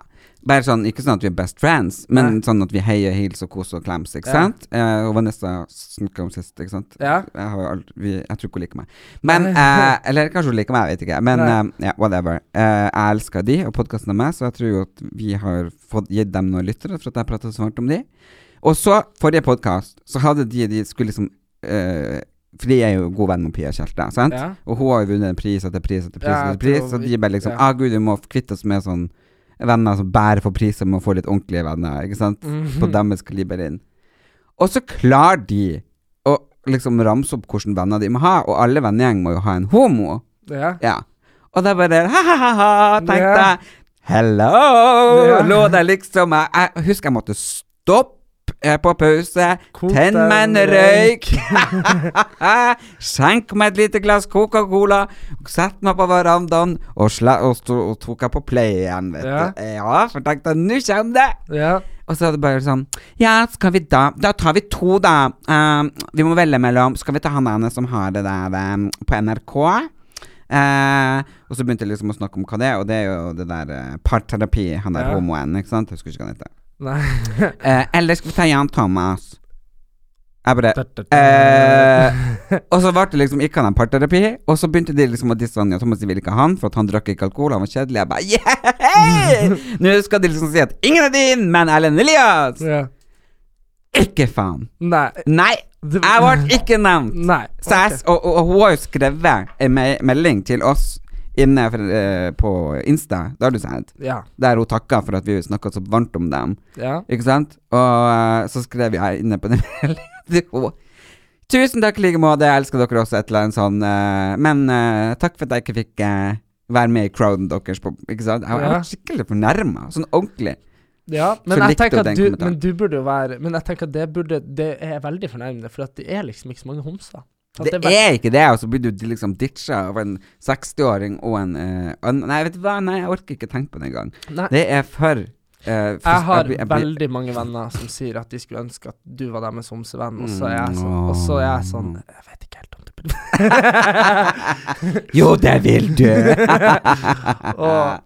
A: Bare sånn, Ikke sånn at vi er best friends, men sånn at vi heier, hilser, koser og klemser. Ikke
B: Ja.
A: sant? Eh, og Vanessa snakka om sist, ikke sant?
B: Ja.
A: Jeg, har jo aldri, vi, jeg tror ikke hun liker meg. Men, eh, Eller kanskje hun liker meg, jeg vet ikke. Men
B: Nei.
A: eh, ja, whatever. Eh, jeg elsker de og podkasten av meg, så jeg tror jo at vi har fått, gitt dem noen lyttere for at jeg prater så varmt om de. Og så, forrige podkast, så hadde de de skulle liksom eh, fordi jeg er jo god venn med Pia Tjelte, sant?
B: Ja.
A: og hun har jo vunnet en pris etter pris etter pris,
B: Ja,
A: etter pris
B: jeg
A: så
B: tror
A: de
B: vi-
A: bare liksom
B: ja.
A: ah, gud, vi må kvitte oss med sånn venner som bærer for priser, må få litt ordentlige venner, ikke sant?
B: Mhm.
A: På deres kaliber inn. Og så klarer de å liksom ramse opp hvilke venner de må ha, og alle vennegjeng må jo ha en homo.
B: ja.
A: Ja. Og da bare ha-ha-ha, tenkte
B: Ja.
A: jeg. Hello!
B: Ja.
A: Lå der liksom jeg, jeg husker jeg måtte stoppe eh, på pause,
B: Koke
A: tenn meg en
B: en
A: røyk, *laughs* skjenk meg et lite glass Coca-Cola, sett meg på verandaen og, sla, og, sto, og tok jeg på play igjen, vet
B: Ja.
A: du. Ja, for tenkte jeg, nå kommer det!
B: ja.
A: Og så er det bare sånn Ja, skal vi da Da tar vi to, da. Eh, vi må velge mellom Skal vi ta han ene som har det der eh, på NRK? Eh, og så begynte jeg liksom å snakke om hva det er, og det er jo det der eh, parterapi, han der
B: Ja.
A: homoen, ikke sant? Jeg husker ikke hva han heter.
B: *laughs* Nei.
A: Eh, eller skal vi ta Jan Thomas? Jeg bare Eh, og så ble det liksom ikke han en parterapi, og så begynte de liksom å disse han. Ja, Thomas de ville ikke ha han, for at han drakk ikke alkohol, han var kjedelig. Jeg bare yeah! Nå skal de liksom si at ingen er din, men Erlend Elias!
B: ja.
A: Ikke faen.
B: Nei.
A: Nei,
B: Det-
A: jeg ble ikke nevnt.
B: Nei.
A: Så jeg, og, og, og hun har jo skrevet en me melding til oss inne for, eh, på Insta, det har du sett,
B: Ja.
A: der hun takka for at vi snakka så varmt om dem.
B: Ja.
A: Ikke sant? Og eh, så skrev jeg inne på den *laughs* meldingen til hun. Tusen takk i like måte, jeg elsker dere også, et eller annet sånn. eh, men eh, takk for at jeg ikke fikk eh, være med i crowden deres. På, ikke sant? Jeg, jeg
B: Ja.
A: var skikkelig fornærma, sånn ordentlig.
B: Ja, men
A: Så
B: jeg
A: likte
B: tenker
A: du
B: at
A: den
B: du,
A: kommentaren?
B: men du burde jo være Men jeg tenker at det burde Det er veldig fornærmende, for at det er liksom ikke så mange homser. At
A: Det
B: vel-
A: er ikke det, og så blir du liksom ditcha av en 60-åring og en eh, an- Nei, vet du hva, nei, jeg orker ikke tenke på det engang.
B: Nei,
A: Det er for eh, frus-
B: jeg har
A: blir- blir-
B: veldig mange venner som sier at de skulle ønske at du var deres homsevenn, og så er jeg
A: Mm,
B: sånn, og så er
A: åh.
B: jeg sånn Jeg vet ikke helt om det
A: *laughs* Jo, det vil
B: *laughs*
A: du!
B: Åh,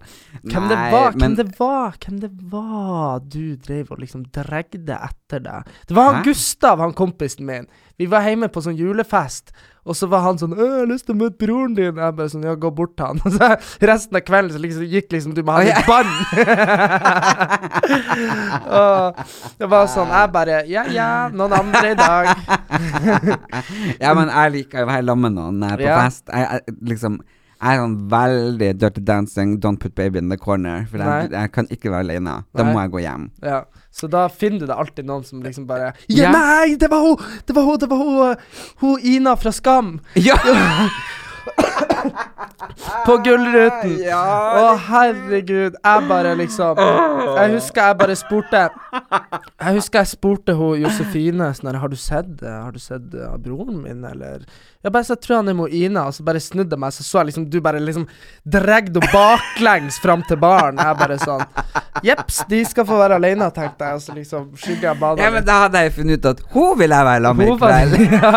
B: Hvem det
A: Nei,
B: var, hvem
A: men-
B: det var, hvem det var du dreiv og liksom dregde etter deg? Det var han
A: Hæ?
B: Gustav, han kompisen min. Vi var hjemme på sånn julefest, og så var han sånn 'Ø, 'Jeg har lyst til å møte broren din.' Jeg bare sånn 'Ja, gå bort til han.' *laughs* Og så resten av kvelden så liksom, gikk liksom du med han
A: Å,
B: i
A: ja. *laughs*
B: bånd. og det var sånn Jeg bare 'Ja, ja, noen andre i dag'.
A: Ja, men jeg liker å være sammen med noen eh, på
B: Ja.
A: fest. Jeg, jeg liksom jeg er sånn veldig dirty dancing, don't put baby in the corner. For jeg, jeg kan ikke være alene. Da
B: Nei.
A: må jeg gå hjem.
B: Ja, så da finner du det alltid noen som liksom bare Ja,
A: Ja.
B: nei, det var hun! Det var hun, det var hun, eh, hun Ina fra Skam!
A: Ja!
B: På Gullruten!
A: *laughs* ja.
B: Å, herregud. Jeg bare liksom Jeg husker jeg bare spurte Jeg husker jeg spurte hun Josefine sånn her Har du sett eh, Har du sett eh, broren min, eller Jeg bare så jeg tror han er med Ina, og så bare snudde jeg meg, så så jeg liksom du bare liksom dregde henne baklengs fram til baren. Jeg bare sånn Jepps, de skal få være alene, tenkte jeg, og så liksom skygger jeg banen.
A: ja, men da hadde jeg funnet ut at hun vil jeg være sammen med i
B: Hun var-
A: kveld.
B: ja.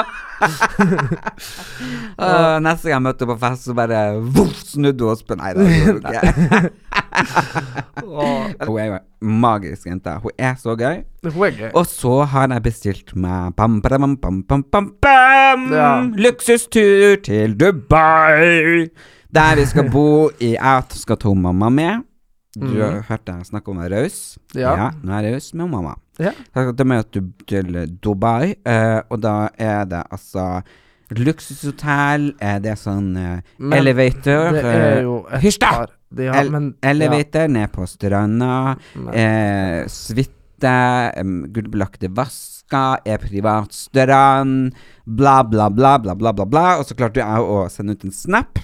A: Og neste gang jeg møtte henne på fest, så bare voff, snudde hun Åspen. *laughs* Nei, det gjorde hun ikke.
B: Og
A: Hun er jo en magisk jente. Hun er så gøy.
B: hun er gøy.
A: Og så har jeg bestilt meg bam, bam, bam, bam, bam, bam,
B: Ja.
A: luksustur til Dubai. Der vi skal bo i Jeg skal ta mamma med. Du
B: Mhm.
A: har hørt jeg snakke om å være raus.
B: Ja.
A: Nå er jeg raus med mamma.
B: Ja.
A: Da skal jeg med du- til Dubai, eh, og da er det altså Luksushotell, eh, det er sånn eh,
B: Men
A: elevator
B: Det
A: eh,
B: er jo et
A: Hysj, da!
B: par. Ja,
A: El-
B: men,
A: Elevator ned på stranda,
B: Men-
A: eh, suite, um, gullbelagte vasker, er privat strand, bla, bla, bla, bla, bla, bla, bla. Og så klarte jeg å sende ut en snap.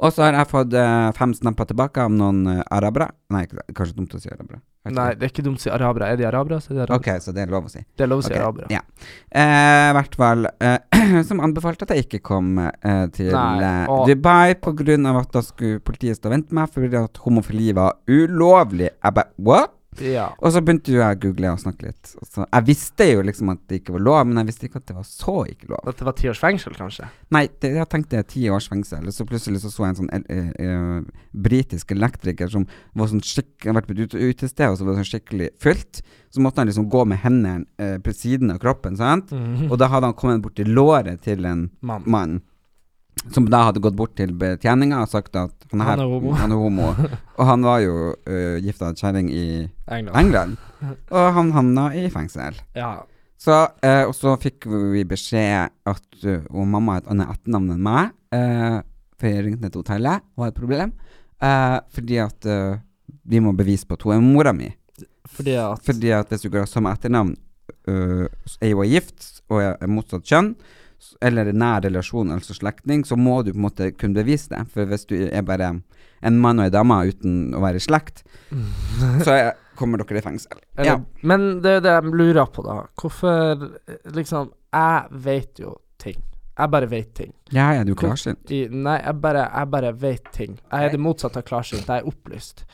A: Og så har jeg fått eh, fem snapper tilbake av noen eh, arabere. Nei, ikke- kanskje dumt å si arabere.
B: Ja.
A: Vet
B: Nei,
A: ikke.
B: det er ikke dumt å si arabere. Er de arabere, så er de arabere.
A: Ok, så det er lov å si.
B: Det er lov å si
A: Ok,
B: arabere.
A: Ja. Eh, I hvert fall eh, *clears throat* som anbefalte at jeg ikke kom eh, til
B: Nei,
A: eh,
B: og-
A: Dubai pga. at da skulle politiet stå og vente meg fordi at homofili var ulovlig. Jeg bare what?
B: Ja.
A: Og så begynte jo jeg å google og snakke litt. Og så, jeg visste jo liksom at det ikke var lov, men jeg visste ikke at det var så ikke lov.
B: At det var ti års fengsel, kanskje?
A: Nei, det, jeg tenkte ti års fengsel, og så plutselig så, så jeg en sånn el- eh, eh, britisk elektriker som var sånn skikk, hadde vært på et ute- utested, og så var det sånn skikkelig fylt. Så måtte han liksom gå med hendene eh, på siden av kroppen, sant?
B: Mhm. Mm.
A: Og da hadde han kommet borti låret til en
B: Mann.
A: mann. Som da hadde gått bort til betjeninga og sagt at han er,
B: Han er homo.
A: Han er
B: *laughs*
A: homo. Og han var jo uh, gifta kjerring i
B: England.
A: England. Og han havna i fengsel.
B: Ja.
A: Så, eh, og så fikk vi beskjed at eh, og mamma har et annet etternavn enn meg. Eh, for jeg ringte ned til hotellet og hadde et problem. Eh, fordi at eh, vi må bevise på at hun er mora mi.
B: Fordi at
A: Fordi at hvis du går av samme etternavn, eh, så er hun gift og er er motsatt kjønn, s- eller i nær relasjon, altså slektning, så må du på en måte kunne bevise det. For hvis du er bare en mann og ei dame uten å være i slekt, så er, kommer dere i fengsel.
B: Mm. *laughs* Eller,
A: Ja.
B: Men det er det jeg lurer på, da. Hvorfor eh, Liksom, jeg vet jo ting. Jeg bare vet ting.
A: Ja, ja, du er
B: Hvor-
A: klarsynt.
B: I, nei, jeg bare, jeg bare vet ting. Jeg er det motsatte av klarsynt. Jeg er opplyst.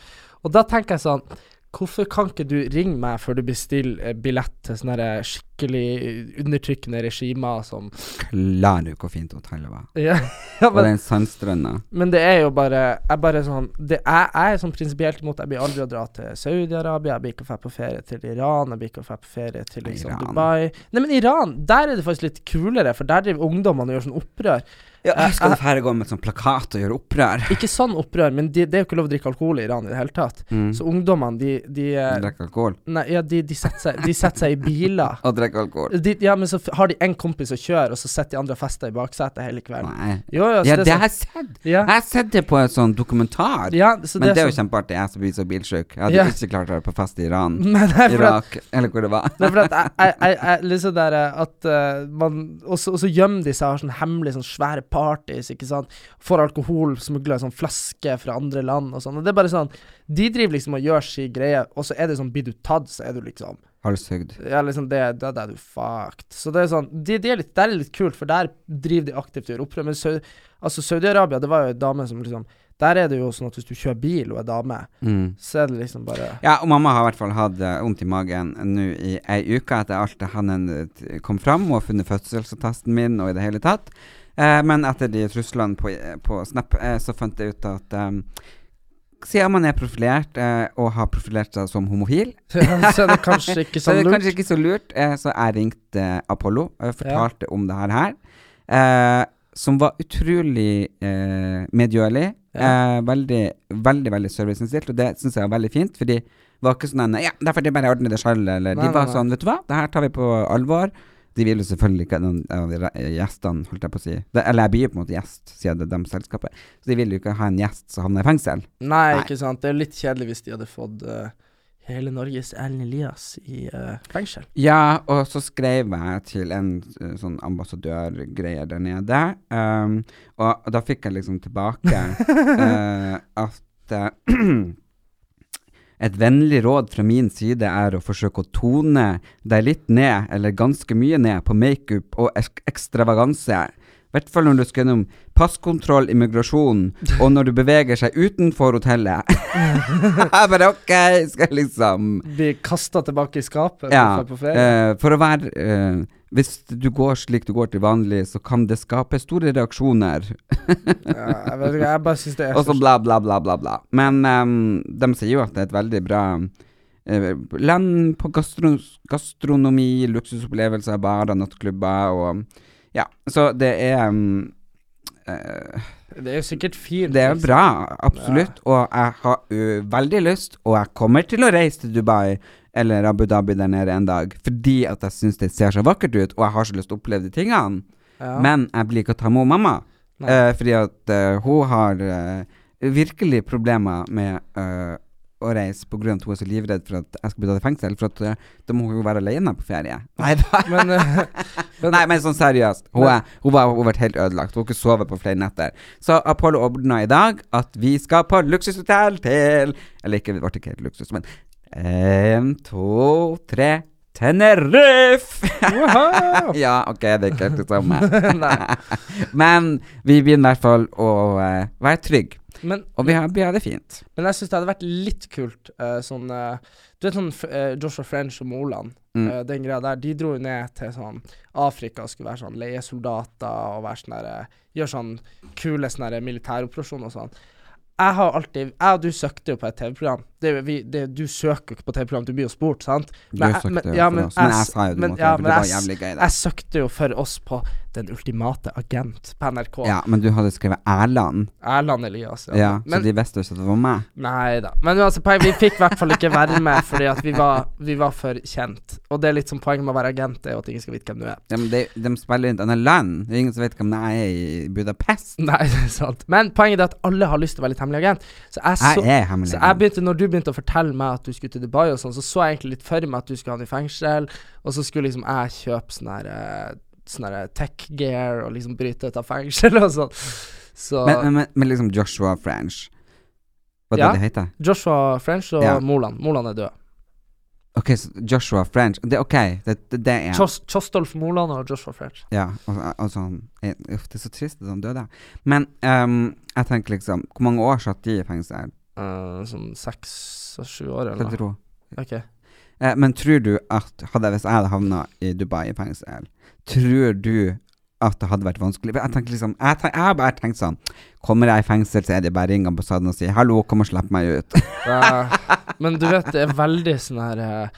B: Og da tenker jeg sånn Hvorfor kan ikke du ringe meg før du bestiller eh, billett til sånne her skikkelig undertrykkende regimer som *laughs*
A: Klarer du hvor fint hotellet var?
B: Ja, ja
A: Og
B: men,
A: den sandstrønda.
B: men det er jo bare Jeg bare sånn det er, Jeg er sånn prinsipielt imot Jeg blir aldri å dra til Saudi-Arabia. Jeg blir ikke å dra på ferie til Iran. Jeg blir ikke å dra på ferie til liksom,
A: Iran.
B: Dubai. Nei, men Iran, der er det faktisk litt kulere, for der driver ungdommene og gjør sånn opprør.
A: jeg skal jo færre gå med sånn plakat og gjøre opprør.
B: Ikke sånn opprør, men de, det er jo ikke lov å drikke alkohol i Iran i det hele tatt.
A: Mm.
B: Så ungdommene, de, de, eh,
A: Drikke alkohol.
B: nei, ja, de, de, setter seg, de setter seg i biler.
A: Og drikke alkohol.
B: De, ja, men så f- har de én kompis som kjører, og så sitter de andre og fester i baksetet hele kvelden.
A: Nei.
B: Jo, jo, så
A: Ja,
B: det
A: det
B: er
A: har
B: sånn,
A: jeg sett.
B: ja,
A: Jeg har sett det på en sånn dokumentar.
B: ja, så
A: Men det er jo
B: sånn-
A: kjempeartig. Jeg som blir så bilsjuk. Jeg hadde
B: Ja.
A: ikke klart å være på fest i Iran,
B: *laughs* Men det er for at,
A: Irak, eller hvor det var.
B: det er for at jeg, jeg, jeg, jeg liksom der eh, at eh, man Og så og så gjemmer de seg og har sånn hemmelig sånn svære parties, ikke sant. Får alkohol smugla i sånn flaske fra andre land og sånn. Og det er bare sånn De driver liksom og gjør si greie, og så er det sånn Blir du tatt, så er du liksom
A: Har du sugd?
B: Ja, liksom det, da da er du fucked. Så det er sånn Det de er, litt- der er litt kult, for der driver de aktivt og gjør opprør. Men Sau- altså Saudi-Arabia, det var jo ei dame som liksom Der er det jo sånn at hvis du kjører bil og er dame,
A: Mm.
B: så er det liksom bare *laughs*
A: Ja, og mamma har i hvert fall hatt eh, vondt i magen nå i ei uke etter alt det han eh, t- kom fram. Hun har funnet fødselsattesten min og i det hele tatt. Eh, men etter de truslene på, eh, på Snap, eh, så fant jeg ut at eh, siden man er profilert eh, og har profilert seg som homofil,
B: Så er det kanskje ikke
A: så
B: sånn
A: det er
B: lurt.
A: kanskje ikke så lurt. Eh, så jeg ringte eh, Apollo og jeg
B: Ja.
A: fortalte om det her. her eh, som var utrolig eh, medgjørlig. Eh, veldig, veldig veldig serviceinnstilt, og det syns jeg var veldig fint. Fordi det var ikke sånn en, Ja, derfor det bare ordner det sjøl, eller
B: Nei,
A: De var
B: nei, nei.
A: sånn, vet du hva, det her tar vi på alvor. De vil jo selvfølgelig ikke at noen av de re- gjestene, holdt jeg på å si det, Eller jeg blir jo på en måte gjest, siden det er dem selskapet. Så de vil jo ikke ha en gjest som havner i fengsel.
B: Nei,
A: Nei.
B: ikke sant. Det er litt kjedelig hvis de hadde fått eh, hele Norges Ellen Elias i eh, fengsel.
A: Ja, og så skrev jeg til en eh, sånn ambassadørgreie der nede, ehm, og da fikk jeg liksom tilbake eh, at eh, *clears throat* et vennlig råd fra min side er å forsøke å tone deg litt ned, eller ganske mye ned, på makeup og ek ekstravaganse. I hvert fall når du skal gjennom passkontroll, immigrasjon, og når du beveger seg utenfor hotellet. *laughs* Jeg bare OK, skal jeg liksom
B: Blir kasta tilbake i skapet
A: Ja,
B: når du drar på ferie.
A: Eh, for å være eh, Hvis du går slik du går til vanlig, så kan det skape store reaksjoner,
B: ja, jeg vet ikke, jeg bare syns det
A: *laughs*
B: er
A: og så
B: så
A: bla, bla, bla, bla, bla. Men ehm, de sier jo at det er et veldig bra eh, land på gastro gastronomi, luksusopplevelser, barer, nattklubber og Ja, så det er ehm, eh,
B: Det er jo sikkert fint.
A: Det er jo bra, absolutt. Og jeg har ø, veldig lyst, og jeg kommer til å reise til Dubai eller Abu Dhabi der nede en dag, fordi at jeg syns det ser så vakkert ut, og jeg har så lyst til å oppleve de tingene.
B: Ja.
A: Men jeg blir ikke å ta med mamma,
B: Nei.
A: eh, fordi at eh, hun har eh, virkelig problemer med eh, å reise på grunn av at hun er så livredd for at jeg skal bli tatt i fengsel, for at eh, da må hun jo være alene på ferie. Nei da.
B: Men, eh, *laughs* men-
A: Nei, men sånn seriøst. Hun, er, hun, var, hun har vært helt ødelagt. Hun har ikke sovet på flere netter. Så Apollo ordna i dag at vi skal på luksushotell til Eller ikke, det ble ikke helt luksus, men En, to, tre Tenerife! *laughs*
B: Wow!
A: ja, OK, det er ikke helt det samme.
B: *laughs* Nei.
A: Men vi begynner i hvert fall å eh, være trygge.
B: Men,
A: Og vi har, vi har det fint.
B: men jeg syns det hadde vært litt kult eh, sånn eh, Du vet sånn f- eh, Joshua French og Moland,
A: Mm.
B: eh, den greia der. De dro jo ned til sånn Afrika og skulle være sånn leiesoldater og være sånn derre Gjøre sånn kule sånn derre militæroperasjoner og sånn. Jeg har alltid Jeg og du søkte jo på et TV-program. Det, er jo vi- det, du søker jo ikke på TV-program, du blir jo spurt, sant? Men jeg-
A: du
B: men-
A: søkte jo
B: ja,
A: for
B: men
A: oss, men
B: jeg
A: jeg
B: s-
A: sa jo du
B: men-
A: måtte,
B: ja,
A: for
B: men
A: det
B: jeg
A: var
B: s-
A: jævlig gøy. Det.
B: Jeg søkte jo for oss på Den ultimate agent på NRK.
A: Ja, men du hadde skrevet Erland,
B: Erland Elias.
A: ja, så
B: Men
A: de visste jo ikke at det var meg.
B: Nei da. Men altså, poeng, vi fikk i hvert fall ikke være med fordi at vi var, vi var for kjent. Og det er litt sånn poenget med å være agent, er jo at ingen skal vite hvem du er. *laughs*
A: Ja, men de, de spiller jo i et annet land. Det er ingen som vet hvem jeg er i Budapest.
B: Nei, det er sant. Men poenget er at alle har lyst til å være litt hemmelig agent. Så jeg så,
A: Jeg er hemmelig.
B: så jeg begynte, når du begynte å fortelle meg at du skulle til Dubai og sånn, så så jeg egentlig litt for meg at du skulle havne i fengsel, og så skulle liksom jeg kjøpe sånn her eh, Sånn her tech gear og liksom bryte ut av fengsel og sånn. Så
A: men, men, men, men liksom Joshua French Hva
B: Ja.
A: det det heter?
B: Joshua French og
A: Ja.
B: Moland. Moland er død.
A: Ok, så Joshua French Det er ok, det, det, det er
B: Kjos- Kjostolf Moland og Joshua French.
A: Ja, og, og sånn eh, Uff, det er så trist at han døde. Men ehm, jeg tenker liksom Hvor mange år satt de i fengsel?
B: Eh, sånn seks og sju år,
A: Hva
B: eller noe.
A: tror du?
B: Ok.
A: Eh, men tror du at hadde, Hvis jeg hadde havna i Dubai i fengsel, tror du at det hadde vært vanskelig? Jeg tenker liksom Jeg, tenk, jeg har bare tenkt sånn Kommer jeg i fengsel, så er det bare å ringe ambassaden og si 'hallo, kom og slipp meg
B: *laughs*
A: ut'.
B: Eh, men du vet, det er veldig sånn her eh,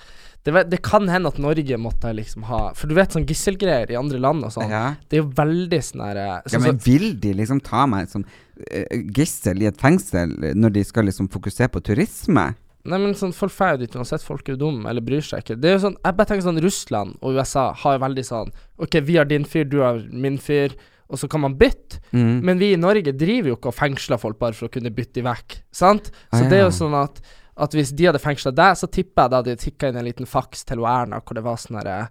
B: det, vet, det kan hende at Norge måtte liksom ha For du vet sånn gisselgreier i andre land og sånn.
A: Ja.
B: Det er jo veldig sånn her eh,
A: Ja,
B: sånn
A: men
B: som-
A: vil de liksom ta meg som eh, gissel i et fengsel eh, når de skal liksom fokusere på turisme?
B: Nei, men sånn folk drar jo dit uansett. Folk er jo dumme, eller bryr seg ikke. Det er jo sånn, Jeg bare tenker sånn Russland og USA har jo veldig sånn OK, vi har din fyr, du har min fyr, og så kan man bytte.
A: Mm.
B: Men vi i Norge driver jo ikke og fengsler folk bare for å kunne bytte de vekk, sant? Så
A: Ah, ja.
B: det er jo sånn at, at hvis de hadde fengsla deg, så tipper jeg da de tikka inn en liten faks til hun Erna hvor det var sånn herre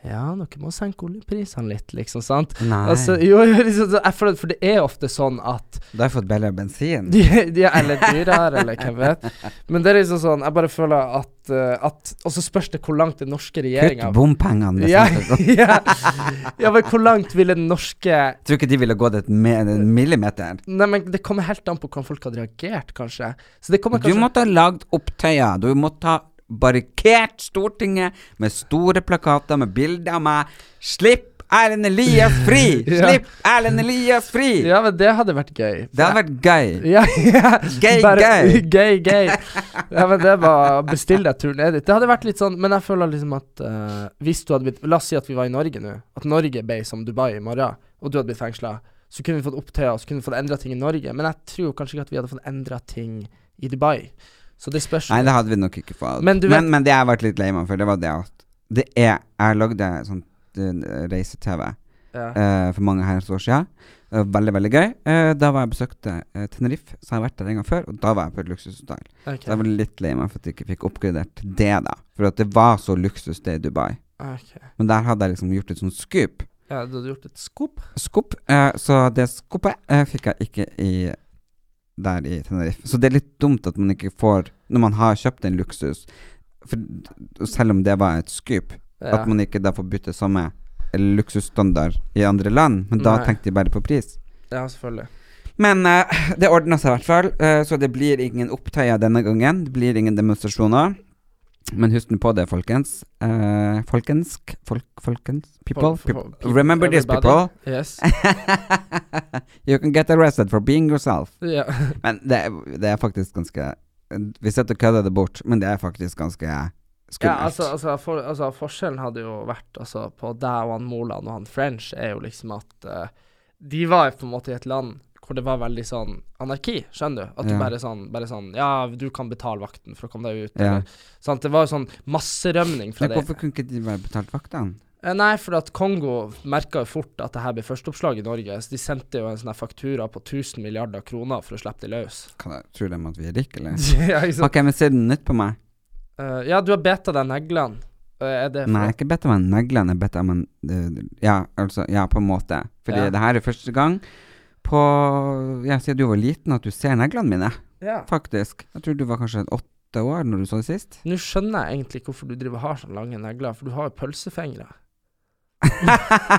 B: Ja, dere må senke oljeprisene litt, liksom, sant?
A: Nei.
B: Altså, jo, jo, liksom, så jeg føler, for det er ofte sånn at *laughs*
A: da har jeg fått billigere bensin.
B: de, de er litt dyrere, eller hvem vet. Men det er liksom sånn, jeg bare føler at, eh, at Og så spørs det hvor langt den norske
A: Kutt liksom.
B: regjeringa
A: bompengene.
B: ja, *laughs*
A: hvis jeg-
B: ja, ja, men hvor langt ville den norske
A: Tror ikke de ville gått et me- en millimeter.
B: Nei, men det kommer helt an på hvordan folk hadde reagert, kanskje. Så det kommer
A: Du
B: kanskje
A: måtte ha lagd opptøyer. Du måtte ha barrikert Stortinget med store plakater med bilder av meg. Slipp Erlend Elias fri!
B: *laughs* Ja.
A: Slipp Erlend Elias fri!
B: *laughs* Ja, men det hadde vært gøy.
A: Det hadde vært gøy.
B: *laughs* ja, ja.
A: Gay,
B: *laughs*
A: gay.
B: gay, gay. Ja, men det var Bestill deg turen edit. Det hadde vært litt sånn, men jeg føler liksom at eh, hvis du hadde blitt La oss si at vi var i Norge nå, at Norge ble som Dubai i morgen, og du hadde blitt fengsla, så kunne vi fått opptøyer, og så kunne vi fått endra ting i Norge. Men jeg tror kanskje ikke at vi hadde fått endra ting i Dubai. Så det spørs
A: Nei, det hadde vi nok ikke fått.
B: Men
A: Men,
B: du vet-
A: men, det jeg ble litt lei meg for, det var det at det er Jeg lagde sånn eh, reise-TV
B: Ja.
A: eh, for mange herrens år siden. Eh, veldig, veldig gøy. Eh, da var jeg besøkte eh, Tenerife, så har jeg vært der en gang før, og da var jeg på et luksushotell.
B: Ok,
A: Så jeg var litt lei meg for at jeg ikke fikk oppgradert det, da. For at det var så luksus det i Dubai.
B: ok.
A: Men der hadde jeg liksom gjort et sånt scoop.
B: Ja, du hadde gjort et skop?
A: Skupp. eh, så det skuppet eh, fikk jeg ikke i der i Tenerife. Så det er litt dumt at man ikke får, når man har kjøpt en luksus, for, d- selv om det var et skup,
B: Ja.
A: at man ikke da får bytte samme luksusstandard i andre land. Men da
B: Nei.
A: tenkte de bare på pris.
B: ja, selvfølgelig.
A: Men eh, *laughs* det ordna seg i hvert fall, eh, så det blir ingen opptøyer denne gangen. Det blir ingen demonstrasjoner. Men husk nå på det, folkens. Eh, folkensk folk, Folkens? People?
B: Folk- folk-
A: people. Remember this,
B: everybody.
A: people. *laughs*
B: Yes.
A: you can get arrested for being yourself.
B: Ja. *laughs*
A: Men det, er- det er faktisk ganske Vi sitter og kødder det bort, men det er faktisk ganske
B: Ja,
A: skummelt.
B: altså, altså, for, altså Forskjellen hadde jo vært altså, på deg og han Moland og han French, er jo liksom at eh, de var på en måte i et land hvor det var veldig sånn anarki, skjønner du? At du
A: Ja.
B: bare sånn, bare sånn Ja, du kan betale vakten for å komme deg ut.
A: Ja.
B: Eller, sant? Det var jo sånn masserømning fra
A: Men
B: det.
A: hvorfor kunne ikke de være betalt vaktene?
B: Eh, Nei, for at Kongo merka jo fort at det her ble førsteoppslag i Norge, så de sendte jo en sånn her faktura på 1000 milliarder kroner for å slippe de løs.
A: Kan jeg, tror de at vi er rike, eller?
B: *laughs* ja, ikke sant?
A: Ok, men ser du nytt på meg?
B: Eh, ja, du har beta deg neglene. Eh, er det for
A: Nei,
B: at-
A: jeg er ikke bedt om en negle, jeg er bedt om en eh, Ja, altså, ja, på en måte. Fordi
B: Ja.
A: det her er første gang på Ja, siden du var liten at du ser neglene mine,
B: Ja.
A: faktisk. Jeg tror du var kanskje åtte år når du så det sist.
B: Nå skjønner jeg egentlig hvorfor du driver og har sånne lange negler, for du har jo pølsefingre. *laughs*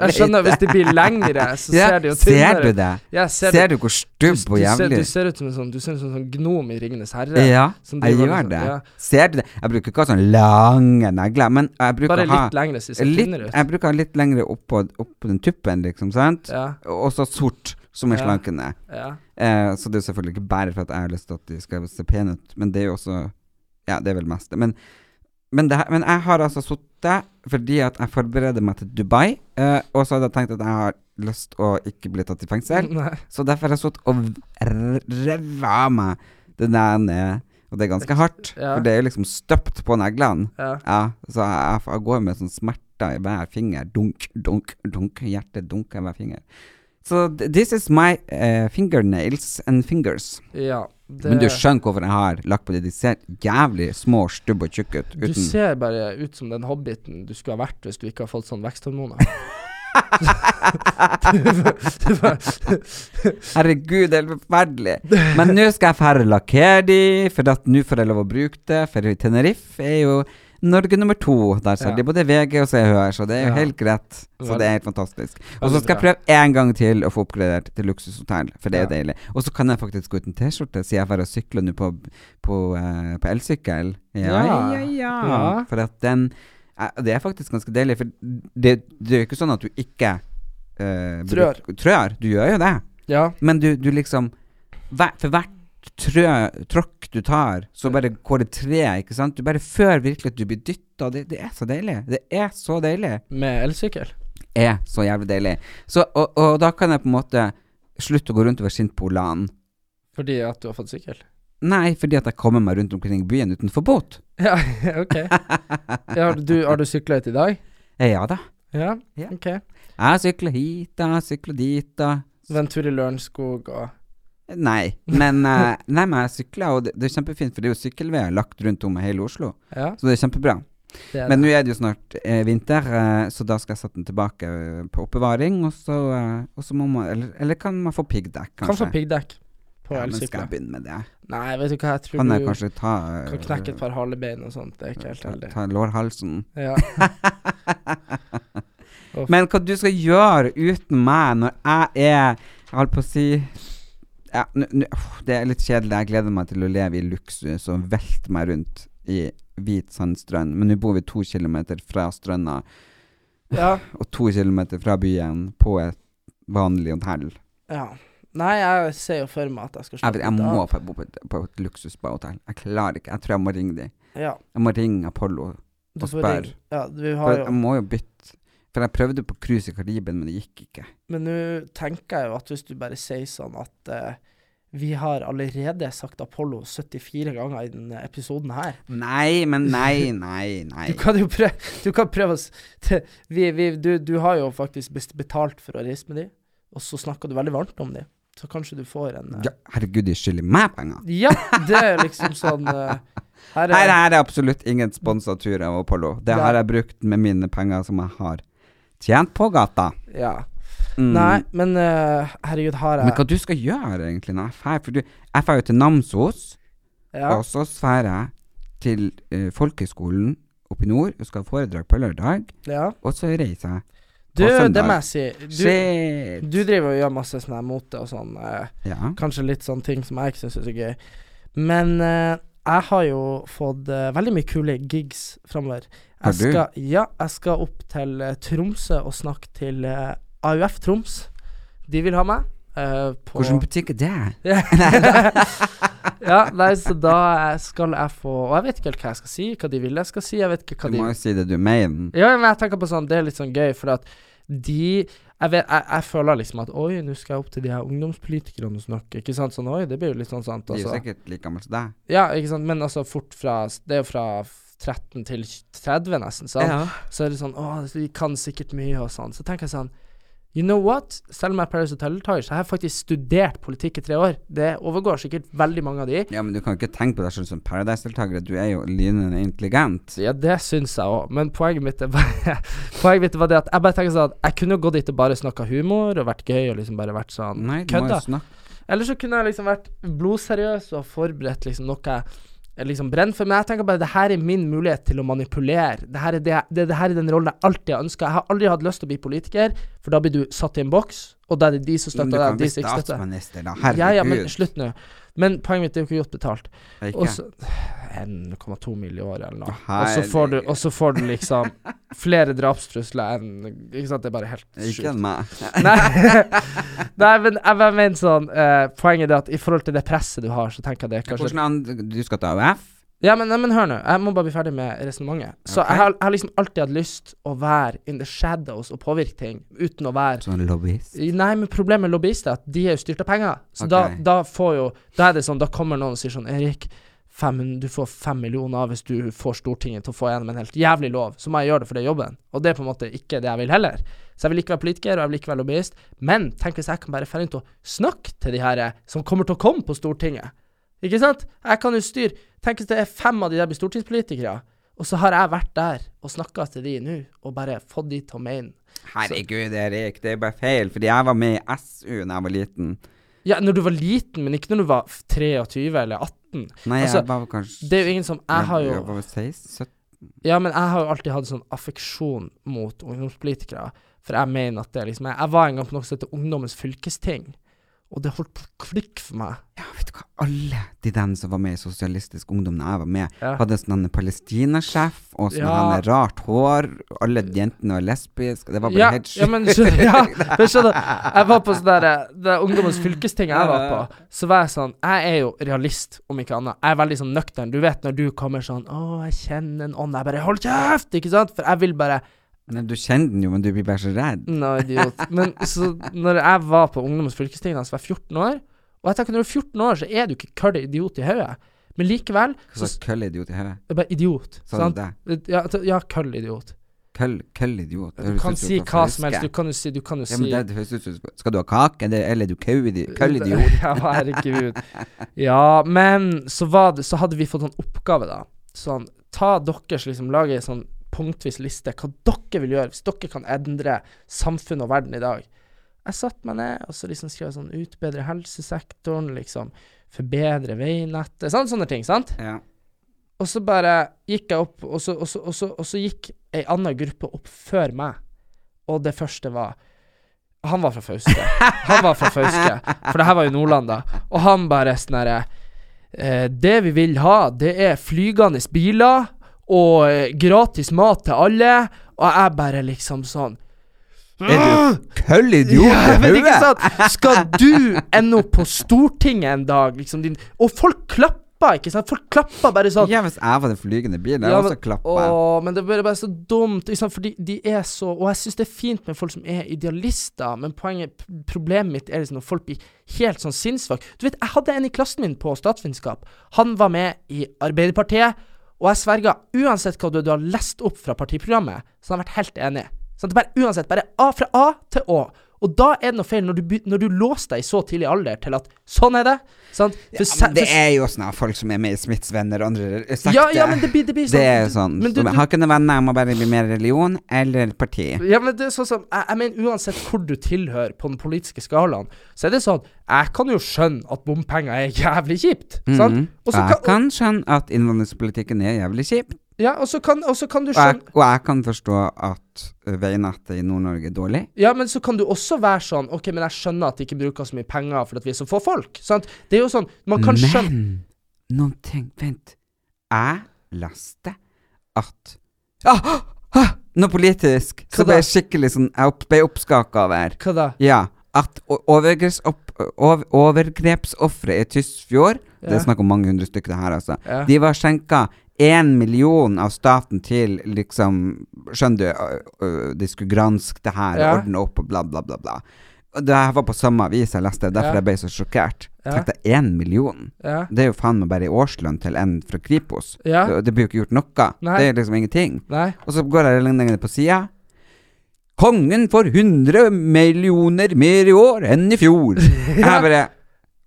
B: Jeg skjønner, hvis de blir lengre, så
A: Ja,
B: ser de jo
A: ser du
B: tynnere ut.
A: det?
B: Ja,
A: Ser, du hvor stubb og
B: Du,
A: jævlig
B: du ser ut som en sånn, du ser ut som en sånn gnom i Ringenes herre.
A: Ja,
B: som
A: jeg
B: driver
A: gjør
B: liksom-
A: det.
B: ja,
A: Ser du det? Jeg bruker ikke å ha sånne lange negler, men jeg bruker
B: bare
A: å ha
B: litt lengre, så de ser
A: litt,
B: tynnere ut.
A: jeg bruker å ha litt lengre oppå opp den tuppen, liksom, sant?
B: Ja,
A: Og så sort, som er
B: Ja.
A: slankende.
B: ja.
A: Eh, så det er jo selvfølgelig ikke bare for at jeg har lyst til at de skal se pene ut, men det er jo også Ja, det er vel mest det. Men, men, det, her- men jeg har altså sittet fordi at jeg forbereder meg til Dubai, eh, og så hadde jeg tenkt at jeg har lyst å ikke bli tatt i fengsel,
B: *laughs* Nei,
A: så derfor har jeg sittet og r- revet av meg den der ned, og det er ganske hardt,
B: Ja.
A: for det er jo liksom støpt på neglene.
B: ja.
A: Ja, så jeg, jeg går med sånn smerter i hver finger. Dunk, dunk, dunk. Hjertet dunker i hver finger. Så th- this is my eh, fingernails and fingers.
B: ja det,
A: Men du skjønner hvorfor jeg har lagt på det. De ser jævlig små, stubbe og tjukke ut.
B: du
A: Uten
B: ser *laughs* bare ut som den hobbiten du skulle ha vært hvis du ikke har fått sånn
A: *laughs*
B: veksthormoner. *laughs*
A: Herregud, det er helt forferdelig. Men nå skal jeg færre lakkere de, for at nå får jeg lov å bruke det. For i Tenerife er jo Norge nummer to. Der ser
B: Ja.
A: de både VG og Se og Hør, så det er jo
B: Ja.
A: helt greit. Så
B: Veldig-
A: det er helt fantastisk. Og så
B: veldig
A: skal jeg
B: bra.
A: prøve en gang til å få oppgradert til luksushotell, for det er
B: Ja.
A: deilig. Og så kan jeg faktisk gå uten T-skjorte, siden jeg bare sykler nå på, på, eh, på elsykkel. Ja, ja,
B: Ja.
A: ja.
B: Ja.
A: For at den eh, Det er faktisk ganske deilig, for det, det er jo ikke sånn at du ikke eh,
B: Trør.
A: bruk- Trør. Du gjør jo det.
B: ja,
A: Men du, du liksom hver, For hvert trø, tråkk du tar, så bare går det tre, ikke sant? Du bare føler virkelig at du blir dytta. Det, det er så deilig. Det er så deilig.
B: med elsykkel.
A: Er så jævlig deilig. Så, og, og da kan jeg på en måte slutte å gå rundt og være sint på Olan.
B: Fordi at du har fått sykkel. *laughs*
A: Nei, fordi at jeg kommer meg rundt omkring i byen uten forbot.
B: Ja, ok. Ja, har du, har du sykla hit i dag?
A: Eh, Ja da.
B: Ja,
A: Ja.
B: ok.
A: Jeg sykler hit da, jeg sykler dit da.
B: Så en tur i Lørenskog og
A: Nei, men, eh, nei, men jeg sykler, og det, det er kjempefint, for det er jo sykkelveier lagt rundt om i hele Oslo.
B: Ja,
A: Så det er kjempebra.
B: Det er
A: Men
B: det.
A: nå er det jo snart eh, vinter, eh, så da skal jeg sette den tilbake eh, på oppbevaring. Og så, eh, og så må man eller, eller kan man få piggdekk,
B: Kan
A: kanskje?
B: få piggdekk på
A: ja, men skal
B: elsykler.
A: jeg begynne med det?
B: Nei, vet du hva, jeg tror
A: Kan jeg
B: du
A: kanskje ta eh,
B: kan knekke et par halebein og sånt. Det er ikke helt
A: ta,
B: heldig.
A: ta lårhalsen?
B: Ja.
A: Men hva du skal gjøre uten meg når jeg er Jeg holdt på å si ja, nå- nå- åh, Det er litt kjedelig. Jeg gleder meg til å leve i luksus og velte meg rundt i hvit sandstrand. Men nå bor vi to kilometer fra stranda,
B: ja.
A: og to kilometer fra byen, på et vanlig hotell.
B: ja. Nei, jeg ser jo for meg at jeg skal
A: Jeg, vet, jeg
B: litt
A: må
B: av.
A: få bo på et, på et luksusbahotell. Jeg klarer ikke. Jeg tror jeg må ringe dem.
B: Ja,
A: Jeg må ringe Apollo.
B: du
A: Og
B: får
A: spør.
B: ringe. Ah, Ja, vi
A: For
B: har
A: jeg
B: jo
A: må jo bytte. For jeg prøvde på cruise i Karibien, men det gikk ikke.
B: Men nå tenker jeg jo at hvis du bare sier sånn at eh, vi har allerede sagt Apollo 74 ganger i denne episoden her.
A: Nei,
B: *laughs*
A: men nei, nei, nei.
B: Du kan jo prøve, du kan prøve å s- te- vi, vi, du, du har jo faktisk best- betalt for å reise med de, og så snakker du veldig varmt om de. Så kanskje du får en eh,
A: Ja, herregud, de skylder meg penger.
B: ja. det er liksom sånn eh,
A: Her
B: her er,
A: er det absolutt ingen sponsa tur av Apollo. Det
B: Nei.
A: har jeg brukt med mine penger som jeg har tjent på gata.
B: ja.
A: Mm.
B: Nei, men eh, herregud, har
A: Men
B: jeg
A: hva du skal gjøre egentlig når jeg drar? For du, jeg drar jo til Namsos,
B: ja.
A: og så drar jeg til eh, folkehøgskolen oppe i nord og skal ha foredrag på lørdag,
B: ja.
A: og så reiser jeg.
B: Du,
A: søndag.
B: det må jeg si. Du,
A: Shit!
B: du driver og gjør masse sånn her mote og sånn. eh,
A: Ja.
B: Kanskje litt sånn ting som jeg ikke syns er så gøy. Men eh, jeg har jo fått eh, veldig mye kule gigs framover.
A: Har du?
B: Skal, ja, jeg skal opp til eh, Tromsø og snakke til eh, AUF Troms. De vil ha meg. eh, på *laughs*
A: *laughs* Hvilken butikk er det?
B: Ja, nei, så da eh, skal jeg få Og jeg vet ikke helt hva jeg skal si, hva de vil jeg skal si. Jeg vet ikke hva
A: Du
B: de
A: må jo si det du mener.
B: ja, men jeg tenker på sånn, det er litt sånn gøy, for at de Jeg, vet, jeg, jeg føler liksom at oi, nå skal jeg opp til de her ungdomspolitikerne og snakke, ikke sant? Sånn oi, det blir jo litt sånn sant,
A: De er jo
B: altså.
A: sikkert like gamle som deg.
B: Ja, ikke sant, men altså fort fra Det er jo fra 13 til 30, nesten, sant? Så er det sånn Å, de kan sikkert mye, og sånn. Så tenker jeg sånn You know what? Selv om jeg er Paris Hotel-deltaker, så jeg har faktisk studert politikk i tre år. Det overgår sikkert veldig mange av de.
A: Ja, men du kan jo ikke tenke på deg selv som Paradise-deltaker. Du er jo lynende intelligent.
B: Ja, det syns jeg òg, men poenget mitt, er bare, *laughs* poenget mitt var det at jeg bare tenker sånn at jeg kunne jo gått dit og bare snakka humor og vært gøy og liksom bare vært sånn
A: Nei, du må
B: kødda.
A: jo snakke
B: Eller så kunne jeg liksom vært blodseriøs og forberedt liksom noe jeg liksom brenner for. Men jeg tenker bare det her er min mulighet til å manipulere. Det her er, det, det, det her er den rollen jeg alltid har ønska. Jeg har aldri hatt lyst til å bli politiker, for da blir du satt i en boks, og da er det de som
A: Men
B: støtter
A: du
B: deg,
A: kan
B: og de
A: bli
B: som ikke støtter deg.
A: statsminister, da.
B: Ja, ja, men
A: Herregud.
B: slutt nå. Men poenget mitt er jo ikke godt betalt.
A: Det er
B: Og
A: ikke-
B: så 1,2 mill. i året eller noe.
A: Å,
B: Og så får du,
A: herregud.
B: og så får du liksom flere drapstrusler enn Ikke sant, det er bare helt
A: Ikke
B: sjukt.
A: enn meg.
B: Nei, Nei, men jeg bare mener sånn eh, Poenget er det at i forhold til det presset du har, så tenker jeg det er kanskje
A: Hvordan andre Du skal til AUF?
B: Ja, men, nei, men hør nå, jeg må bare bli ferdig med resonnementet. Så
A: Ok.
B: jeg, har, jeg har liksom alltid hatt lyst å være in the shadows og påvirke ting uten å være
A: Sånn lobbyist?
B: Nei, men problemet med lobbyister er at de er jo styrt av penger. Så
A: Ok.
B: da, da får jo Da er det sånn, da kommer noen og sier sånn Erik, fem, du får fem millioner hvis du får Stortinget til å få gjennom en helt jævlig lov, så må jeg gjøre det for den jobben. Og det er på en måte ikke det jeg vil heller. Så jeg vil ikke være politiker, og jeg vil ikke være lobbyist. Men tenk hvis jeg kan bare dra rundt og snakke til de her eh, som kommer til å komme på Stortinget. Ikke sant? Jeg kan jo styre Tenk hvis det er fem av de der blir stortingspolitikere, og så har jeg vært der og snakka til de nå, og bare fått de til å mene
A: Herregud, Erik, det er bare feil. Fordi jeg var med i SU da jeg var liten.
B: Ja, når du var liten, men ikke når du var f- 23 eller 18.
A: Nei,
B: Altså,
A: jeg var vel kanskje
B: Det er jo ingen som Jeg har
A: Jeg
B: jo
A: var vel 16?
B: Ja, men jeg har jo alltid hatt sånn affeksjon mot ungdomspolitikere. For jeg mener at det liksom Jeg, jeg var en gang på noe som heter Ungdommens fylkesting, og det holdt på å klikke for meg.
A: Ja, vet du hva. Alle de dem som var med i Sosialistisk Ungdom da jeg var med,
B: Ja.
A: hadde sånn en palestinasjef og sånn
B: Ja.
A: han rart hår. og Alle jentene var lesbiske. Det var bare
B: Ja,
A: helt
B: ja,
A: sjukt.
B: men
A: *laughs*
B: skjønner, ja, men skjønner Jeg var på sånn der eh, Det ungdommens fylkesting jeg var på, så var jeg sånn Jeg er jo realist, om ikke annet. Jeg er veldig sånn nøktern. Du vet når du kommer sånn 'Å, jeg kjenner en ånd.' Jeg bare 'Hold kjeft!' Ikke sant? For jeg vil bare
A: Nei, Du kjenner den jo, men du blir bare så redd.
B: Nå, idiot. Men så når jeg var på ungdommens fylkesting da jeg var 14 år Og jeg tenker når du er 14 år, så er du ikke kødd idiot i hodet. Men likevel
A: Hva
B: så
A: slags køllidiot i hodet?
B: er bare idiot.
A: Sa du
B: Sant?
A: det?
B: Ja, t- ja køll idiot.
A: Køll, køllidiot.
B: Du kan si hva som helst. Du kan jo si, du kan jo
A: Ja,
B: si
A: men det, det høres ut som Skal du ha kake, eller, eller er du køllidi-
B: *laughs*
A: køllidiot?
B: Ja, herregud. Ja, men så, var det, så hadde vi fått en oppgave, da. sånn Ta deres liksom Lage en sånn punktvis liste hva dere vil gjøre, hvis dere kan endre samfunnet og verden i dag. Jeg satte meg ned og så liksom skrev jeg sånn Utbedre helsesektoren, liksom. Forbedre veinettet. Sant? Sånne ting, sant?
A: Ja.
B: Og så bare gikk jeg opp, og så, og så, og så, og så gikk ei anna gruppe opp før meg. Og det første var Han var fra Fauske. Han var fra Fauske, for det her var jo Nordland, da. Og han bare sånn herre eh, Det vi vil ha, det er flygende biler og eh, gratis mat til alle. Og jeg bare liksom sånn
A: Er du køllidiot
B: ja,
A: i
B: men ikke
A: hodet?
B: sant? Skal du ende opp på Stortinget en dag, liksom din Og folk klappa, ikke sant? Folk klappa bare sånn.
A: Ja, hvis jeg var den flygende bilen, jeg
B: Ja,
A: også
B: men-
A: klappa.
B: Åh, men det er bare så dumt. Ikke sant? Fordi de er så Og jeg syns det er fint med folk som er idealister, men poenget, p- problemet mitt er liksom når folk blir helt sånn sinnssvake. Du vet, jeg hadde en i klassen min på statsvitenskap. Han var med i Arbeiderpartiet, og jeg sverger, uansett hva du, du har lest opp fra partiprogrammet, så han har vært helt enig. Sant? Bare, uansett, bare A fra A til Å. Og da er det noe feil når du, be- når du låser deg i så tidlig alder til at sånn er det. Sant? For
A: Ja,
B: se-
A: men det
B: for-
A: er jo sånn at folk som er med i Smiths venner og andre sakte.
B: ja, ja, men det blir, det blir sånn.
A: Det er jo sånn.
B: Men du-
A: som-
B: du-
A: Har ikke noen venner, jeg må bare bli mer religion eller parti.
B: Ja, men det er sånn som Jeg, jeg mener uansett hvor du tilhører på den politiske skalaen, så er det sånn Jeg kan jo skjønne at bompenger er jævlig kjipt, sant?
A: Mm. Og
B: Og så
A: Mhm. jeg
B: kan,
A: kan skjønne at innvandringspolitikken er jævlig kjip.
B: ja, og så kan, og så kan du
A: Og jeg,
B: skjønne
A: og jeg kan forstå at ø, veinettet i Nord-Norge er dårlig.
B: Ja, men så kan du også være sånn OK, men jeg skjønner at de ikke bruker så mye penger fordi at vi er så få folk, sant? Det er jo sånn Man kan skjønne
A: Men noen ting Vent. Jeg leste at ah, ah, Noe politisk
B: Hva
A: så ble
B: da?
A: jeg skikkelig sånn Jeg opp, ble oppskaka over.
B: Hva da?
A: Ja. At o- overgreps, opp, øh, ov, overgrepsofre i Tysfjord Det
B: Ja.
A: er snakk om mange hundre stykker, det her, altså.
B: Ja.
A: De var skjenka én million av staten til liksom Skjønner du, ø- ø, de skulle granske det her
B: Ja.
A: og ordne opp og bla, bla, bla. bla. Og Det her var på samme avis jeg leste, derfor
B: Ja.
A: jeg ble så sjokkert.
B: Ja.
A: Tenkte én million?
B: Ja.
A: Det er jo faen meg bare i årslønn til en fra Kripos.
B: Ja.
A: Det, det blir jo ikke gjort noe.
B: Nei.
A: Det er liksom ingenting.
B: Nei? *laughs*
A: Og så går jeg lenger ned på sida. Kongen får 100 millioner mer i år enn i
B: *laughs*
A: fjor. Jeg bare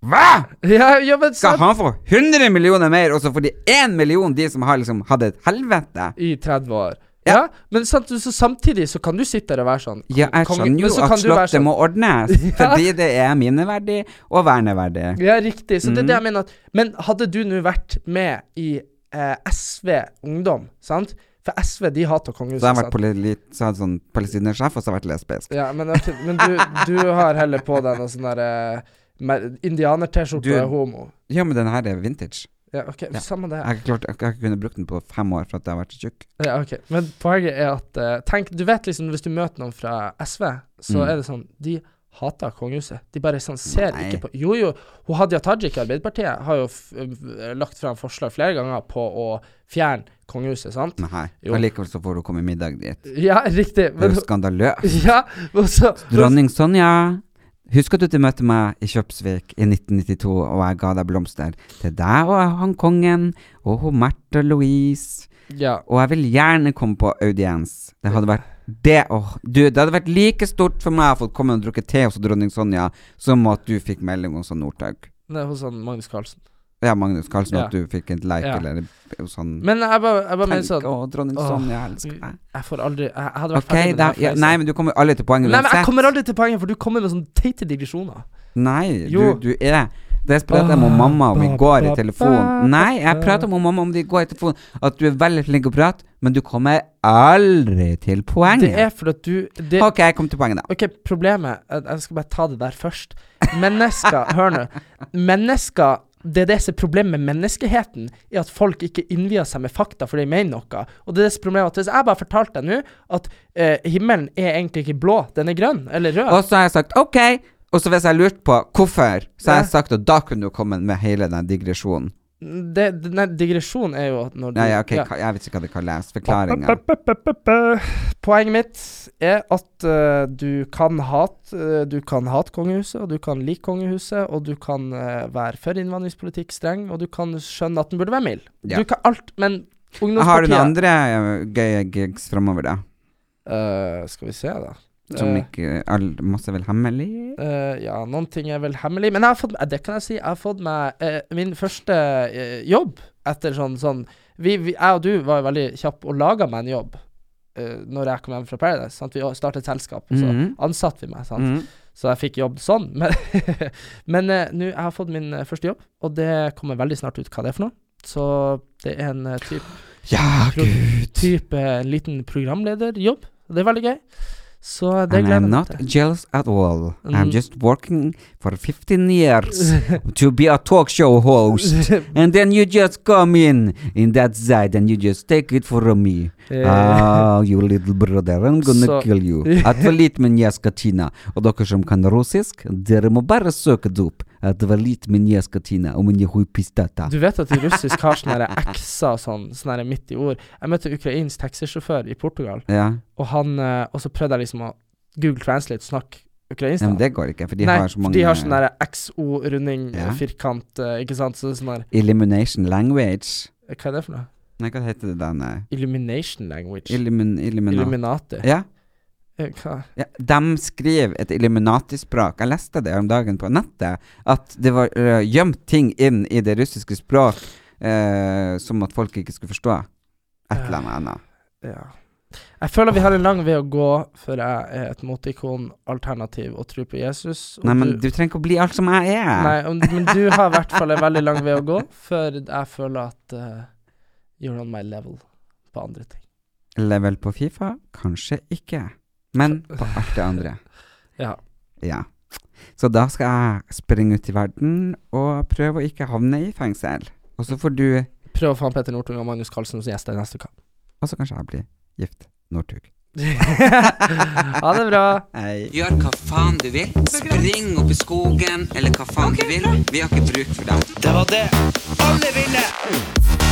A: Hva?!
B: Ja, ja, men
A: Skal
B: sant?
A: han få 100 millioner mer, og så får de 1 million, de som har liksom hatt et helvete?
B: I 30 år.
A: Ja.
B: Ja, men sant, så samtidig så kan du sitte der og være sånn
A: Ja, jeg
B: konge-
A: skjønner
B: men
A: jo
B: så
A: at
B: kan du være
A: slottet
B: sånn-
A: må
B: *laughs*
A: ordnes, fordi det er minneverdig og verneverdig.
B: Ja, riktig. Så
A: Mm.
B: det er det jeg mener at Men hadde du nå vært med i eh, SV Ungdom, sant? For SV, de hater kongehuset.
A: Så jeg har vært
B: sant?
A: poli- så jeg hadde sånn palestinersjef, og så har jeg vært lesbisk.
B: Ja, men, ok, men du, du har heller på deg noe sånn derre Indianer-T-skjorte
A: Du-
B: og er homo.
A: Ja, men den her er vintage.
B: Ja, OK,
A: Ja.
B: samme det.
A: Jeg har ikke klart, jeg har ikke kunnet brukt den på fem år for at jeg har vært så tjukk.
B: Ja, ok. Men poenget er at eh, Tenk, du vet liksom hvis du møter noen fra SV, så
A: Mm.
B: er det sånn De hater kongehuset. De bare sånn ser
A: Nei.
B: ikke på Jo, jo. Hun Hadia Tajik i Arbeiderpartiet har jo f eh, lagt fram forslag flere ganger på å fjerne kongehuset, sant?
A: Nei.
B: Jo.
A: Og likevel så får du komme i middag dit.
B: Ja, riktig.
A: Det er
B: Men,
A: jo skandaløst.
B: *laughs* ja, og så
A: Dronning Sonja, husker du at du møtte meg i Kjøpsvik i 1992, og jeg ga deg blomster til deg og han kongen og hun Märtha Louise,
B: Ja.
A: og jeg vil gjerne komme på audiens. Det hadde vært det, åh, du, det hadde vært like stort for meg å få komme og drukke te hos dronning Sonja som at du fikk melding hos han Northug.
B: Det er hos han Magnus Carlsen.
A: Ja, Magnus Carlsen,
B: Ja.
A: at du fikk en like
B: Ja.
A: eller hos han
B: Men jeg bare, jeg bare mener
A: Tenk,
B: sånn
A: å, dronning
B: åh,
A: Sonja, jeg elsker deg.
B: Jeg får aldri Jeg, jeg hadde vært
A: Ok,
B: ferdig med
A: da.
B: det her.
A: Ja,
B: for lenge
A: nei,
B: siden.
A: men du kommer aldri til poenget
B: nei, men jeg
A: uansett.
B: kommer aldri til poenget, for du kommer med sånne teite digresjoner.
A: Nei, du,
B: Jo.
A: du er desperat om hun mamma om vi går i telefon. Nei, jeg prater om hun mamma om vi går i telefon. At du er veldig flink til å prate, men du kommer aldri til
B: Det
A: poenget.
B: er fordi at du det,
A: Ok, jeg kom til poenget, da.
B: OK, problemet jeg- Jeg skal bare ta det der først. Mennesker *laughs* Hør nå. Mennesker Det er det som er problemet med menneskeheten, er at folk ikke innvier seg med fakta for de mener noe. Og det er det som er problemet at Hvis jeg bare fortalte deg nå at eh, himmelen er egentlig ikke blå, den er grønn eller rød
A: Og så har jeg sagt ok, og så hvis jeg lurte på hvorfor, så har jeg sagt at da kunne du komme med hele den digresjonen.
B: det, det- Nei, digresjon er jo at når du
A: Nei, ok,
B: ja.
A: ka- jeg vet ikke hva det kalles. Forklaringa.
B: Poenget mitt er at eh, du kan hate eh, Du kan hate kongehuset, og du kan like kongehuset, og du kan eh, være for innvandringspolitikk streng, og du kan skjønne at den burde være mild.
A: Ja.
B: Du kan alt, men
A: Har du
B: ungdomspartiet
A: noen andre eh, gøye gigs framover, da?
B: Eh, Skal vi se, da.
A: Som
B: Eh,
A: ikke all, Masse vel hemmelig?
B: eh, ja, noen ting er vel hemmelig, men jeg har fått, eh, det kan jeg si. Jeg har fått meg eh, min første eh, jobb etter sånn sånn vi, vi, Jeg og du var jo veldig kjapp og laga meg en jobb eh, Når jeg kom hjem fra Paradise. Sant? Vi startet et selskap, og så
A: Mhm.
B: ansatte vi meg. Sant?
A: Mm.
B: Så jeg fikk jobb sånn. *laughs* Men, men eh, nå jeg har jeg fått min eh, første jobb, og det kommer veldig snart ut hva det er for noe. Så det er en eh, typ,
A: Ja,
B: Pro-
A: gud.
B: type en liten programlederjobb. og Det er veldig gøy. Så
A: And I'm
B: det gleder jeg meg
A: not
B: til.
A: jealous at all. I'm
B: Mm.
A: just working for 15
B: *laughs*
A: years to be a talk show host. And then you just come in in that side and you just take it from me.
B: Eh,
A: Ah, you little brother, I'm gonna
B: Så-
A: kill
B: *laughs*
A: you. Atvalit min Katina. Og dere som kan russisk, dere må bare søke det opp. Atvalit min Katina, og min huipistata.
B: Du vet at de russisk har sånne der ekser og sånn, sånne der midt i ord. Jeg møtte en ukrainsk taxisjåfør i Portugal,
A: Ja,
B: og, han, eh, og så prøvde jeg liksom å google translate og snakke ukrainsk.
A: ja,
B: da.
A: men det går ikke, for de
B: Nei,
A: har så mange
B: de har sånn der XO-runding,
A: Ja.
B: firkant, eh, ikke sant. Så det er sånn der eh,
A: Elimination language.
B: Hva er det for noe?
A: Nei, hva heter det da? nei?
B: Illumination language.
A: Illumin... Illuminati.
B: Illuminati.
A: Ja,
B: Eh, Hva?
A: ja, de skriver et illuminatispråk. Jeg leste det om dagen på nettet, at det var eh, gjemt ting inn i det russiske språk eh, som at folk ikke skulle forstå. Et eller annet.
B: Ja. Jeg føler vi har en lang vei å gå før jeg er et motikon, alternativ og tror på Jesus. Og
A: Nei, men
B: du,
A: du trenger ikke å bli alt som jeg er.
B: nei, om- men du har i hvert fall en veldig lang vei å gå før jeg føler at eh, you're on my level på andre ting.
A: Level på Fifa? Kanskje ikke. Men på alt det andre.
B: *laughs* Ja.
A: Ja. Så da skal jeg springe ut i verden og prøve å ikke havne i fengsel. Og så får du
B: Prøv å få han Petter Northug og Magnus Carlsen som gjester neste uke.
A: Og så kanskje jeg blir gift.
B: *laughs*
A: Northug.
B: ha det bra.
A: Hei.
C: Gjør hva faen du vil. Spring opp i skogen eller hva faen du vil. Vi har ikke bruk for deg.
D: Det var det alle ville.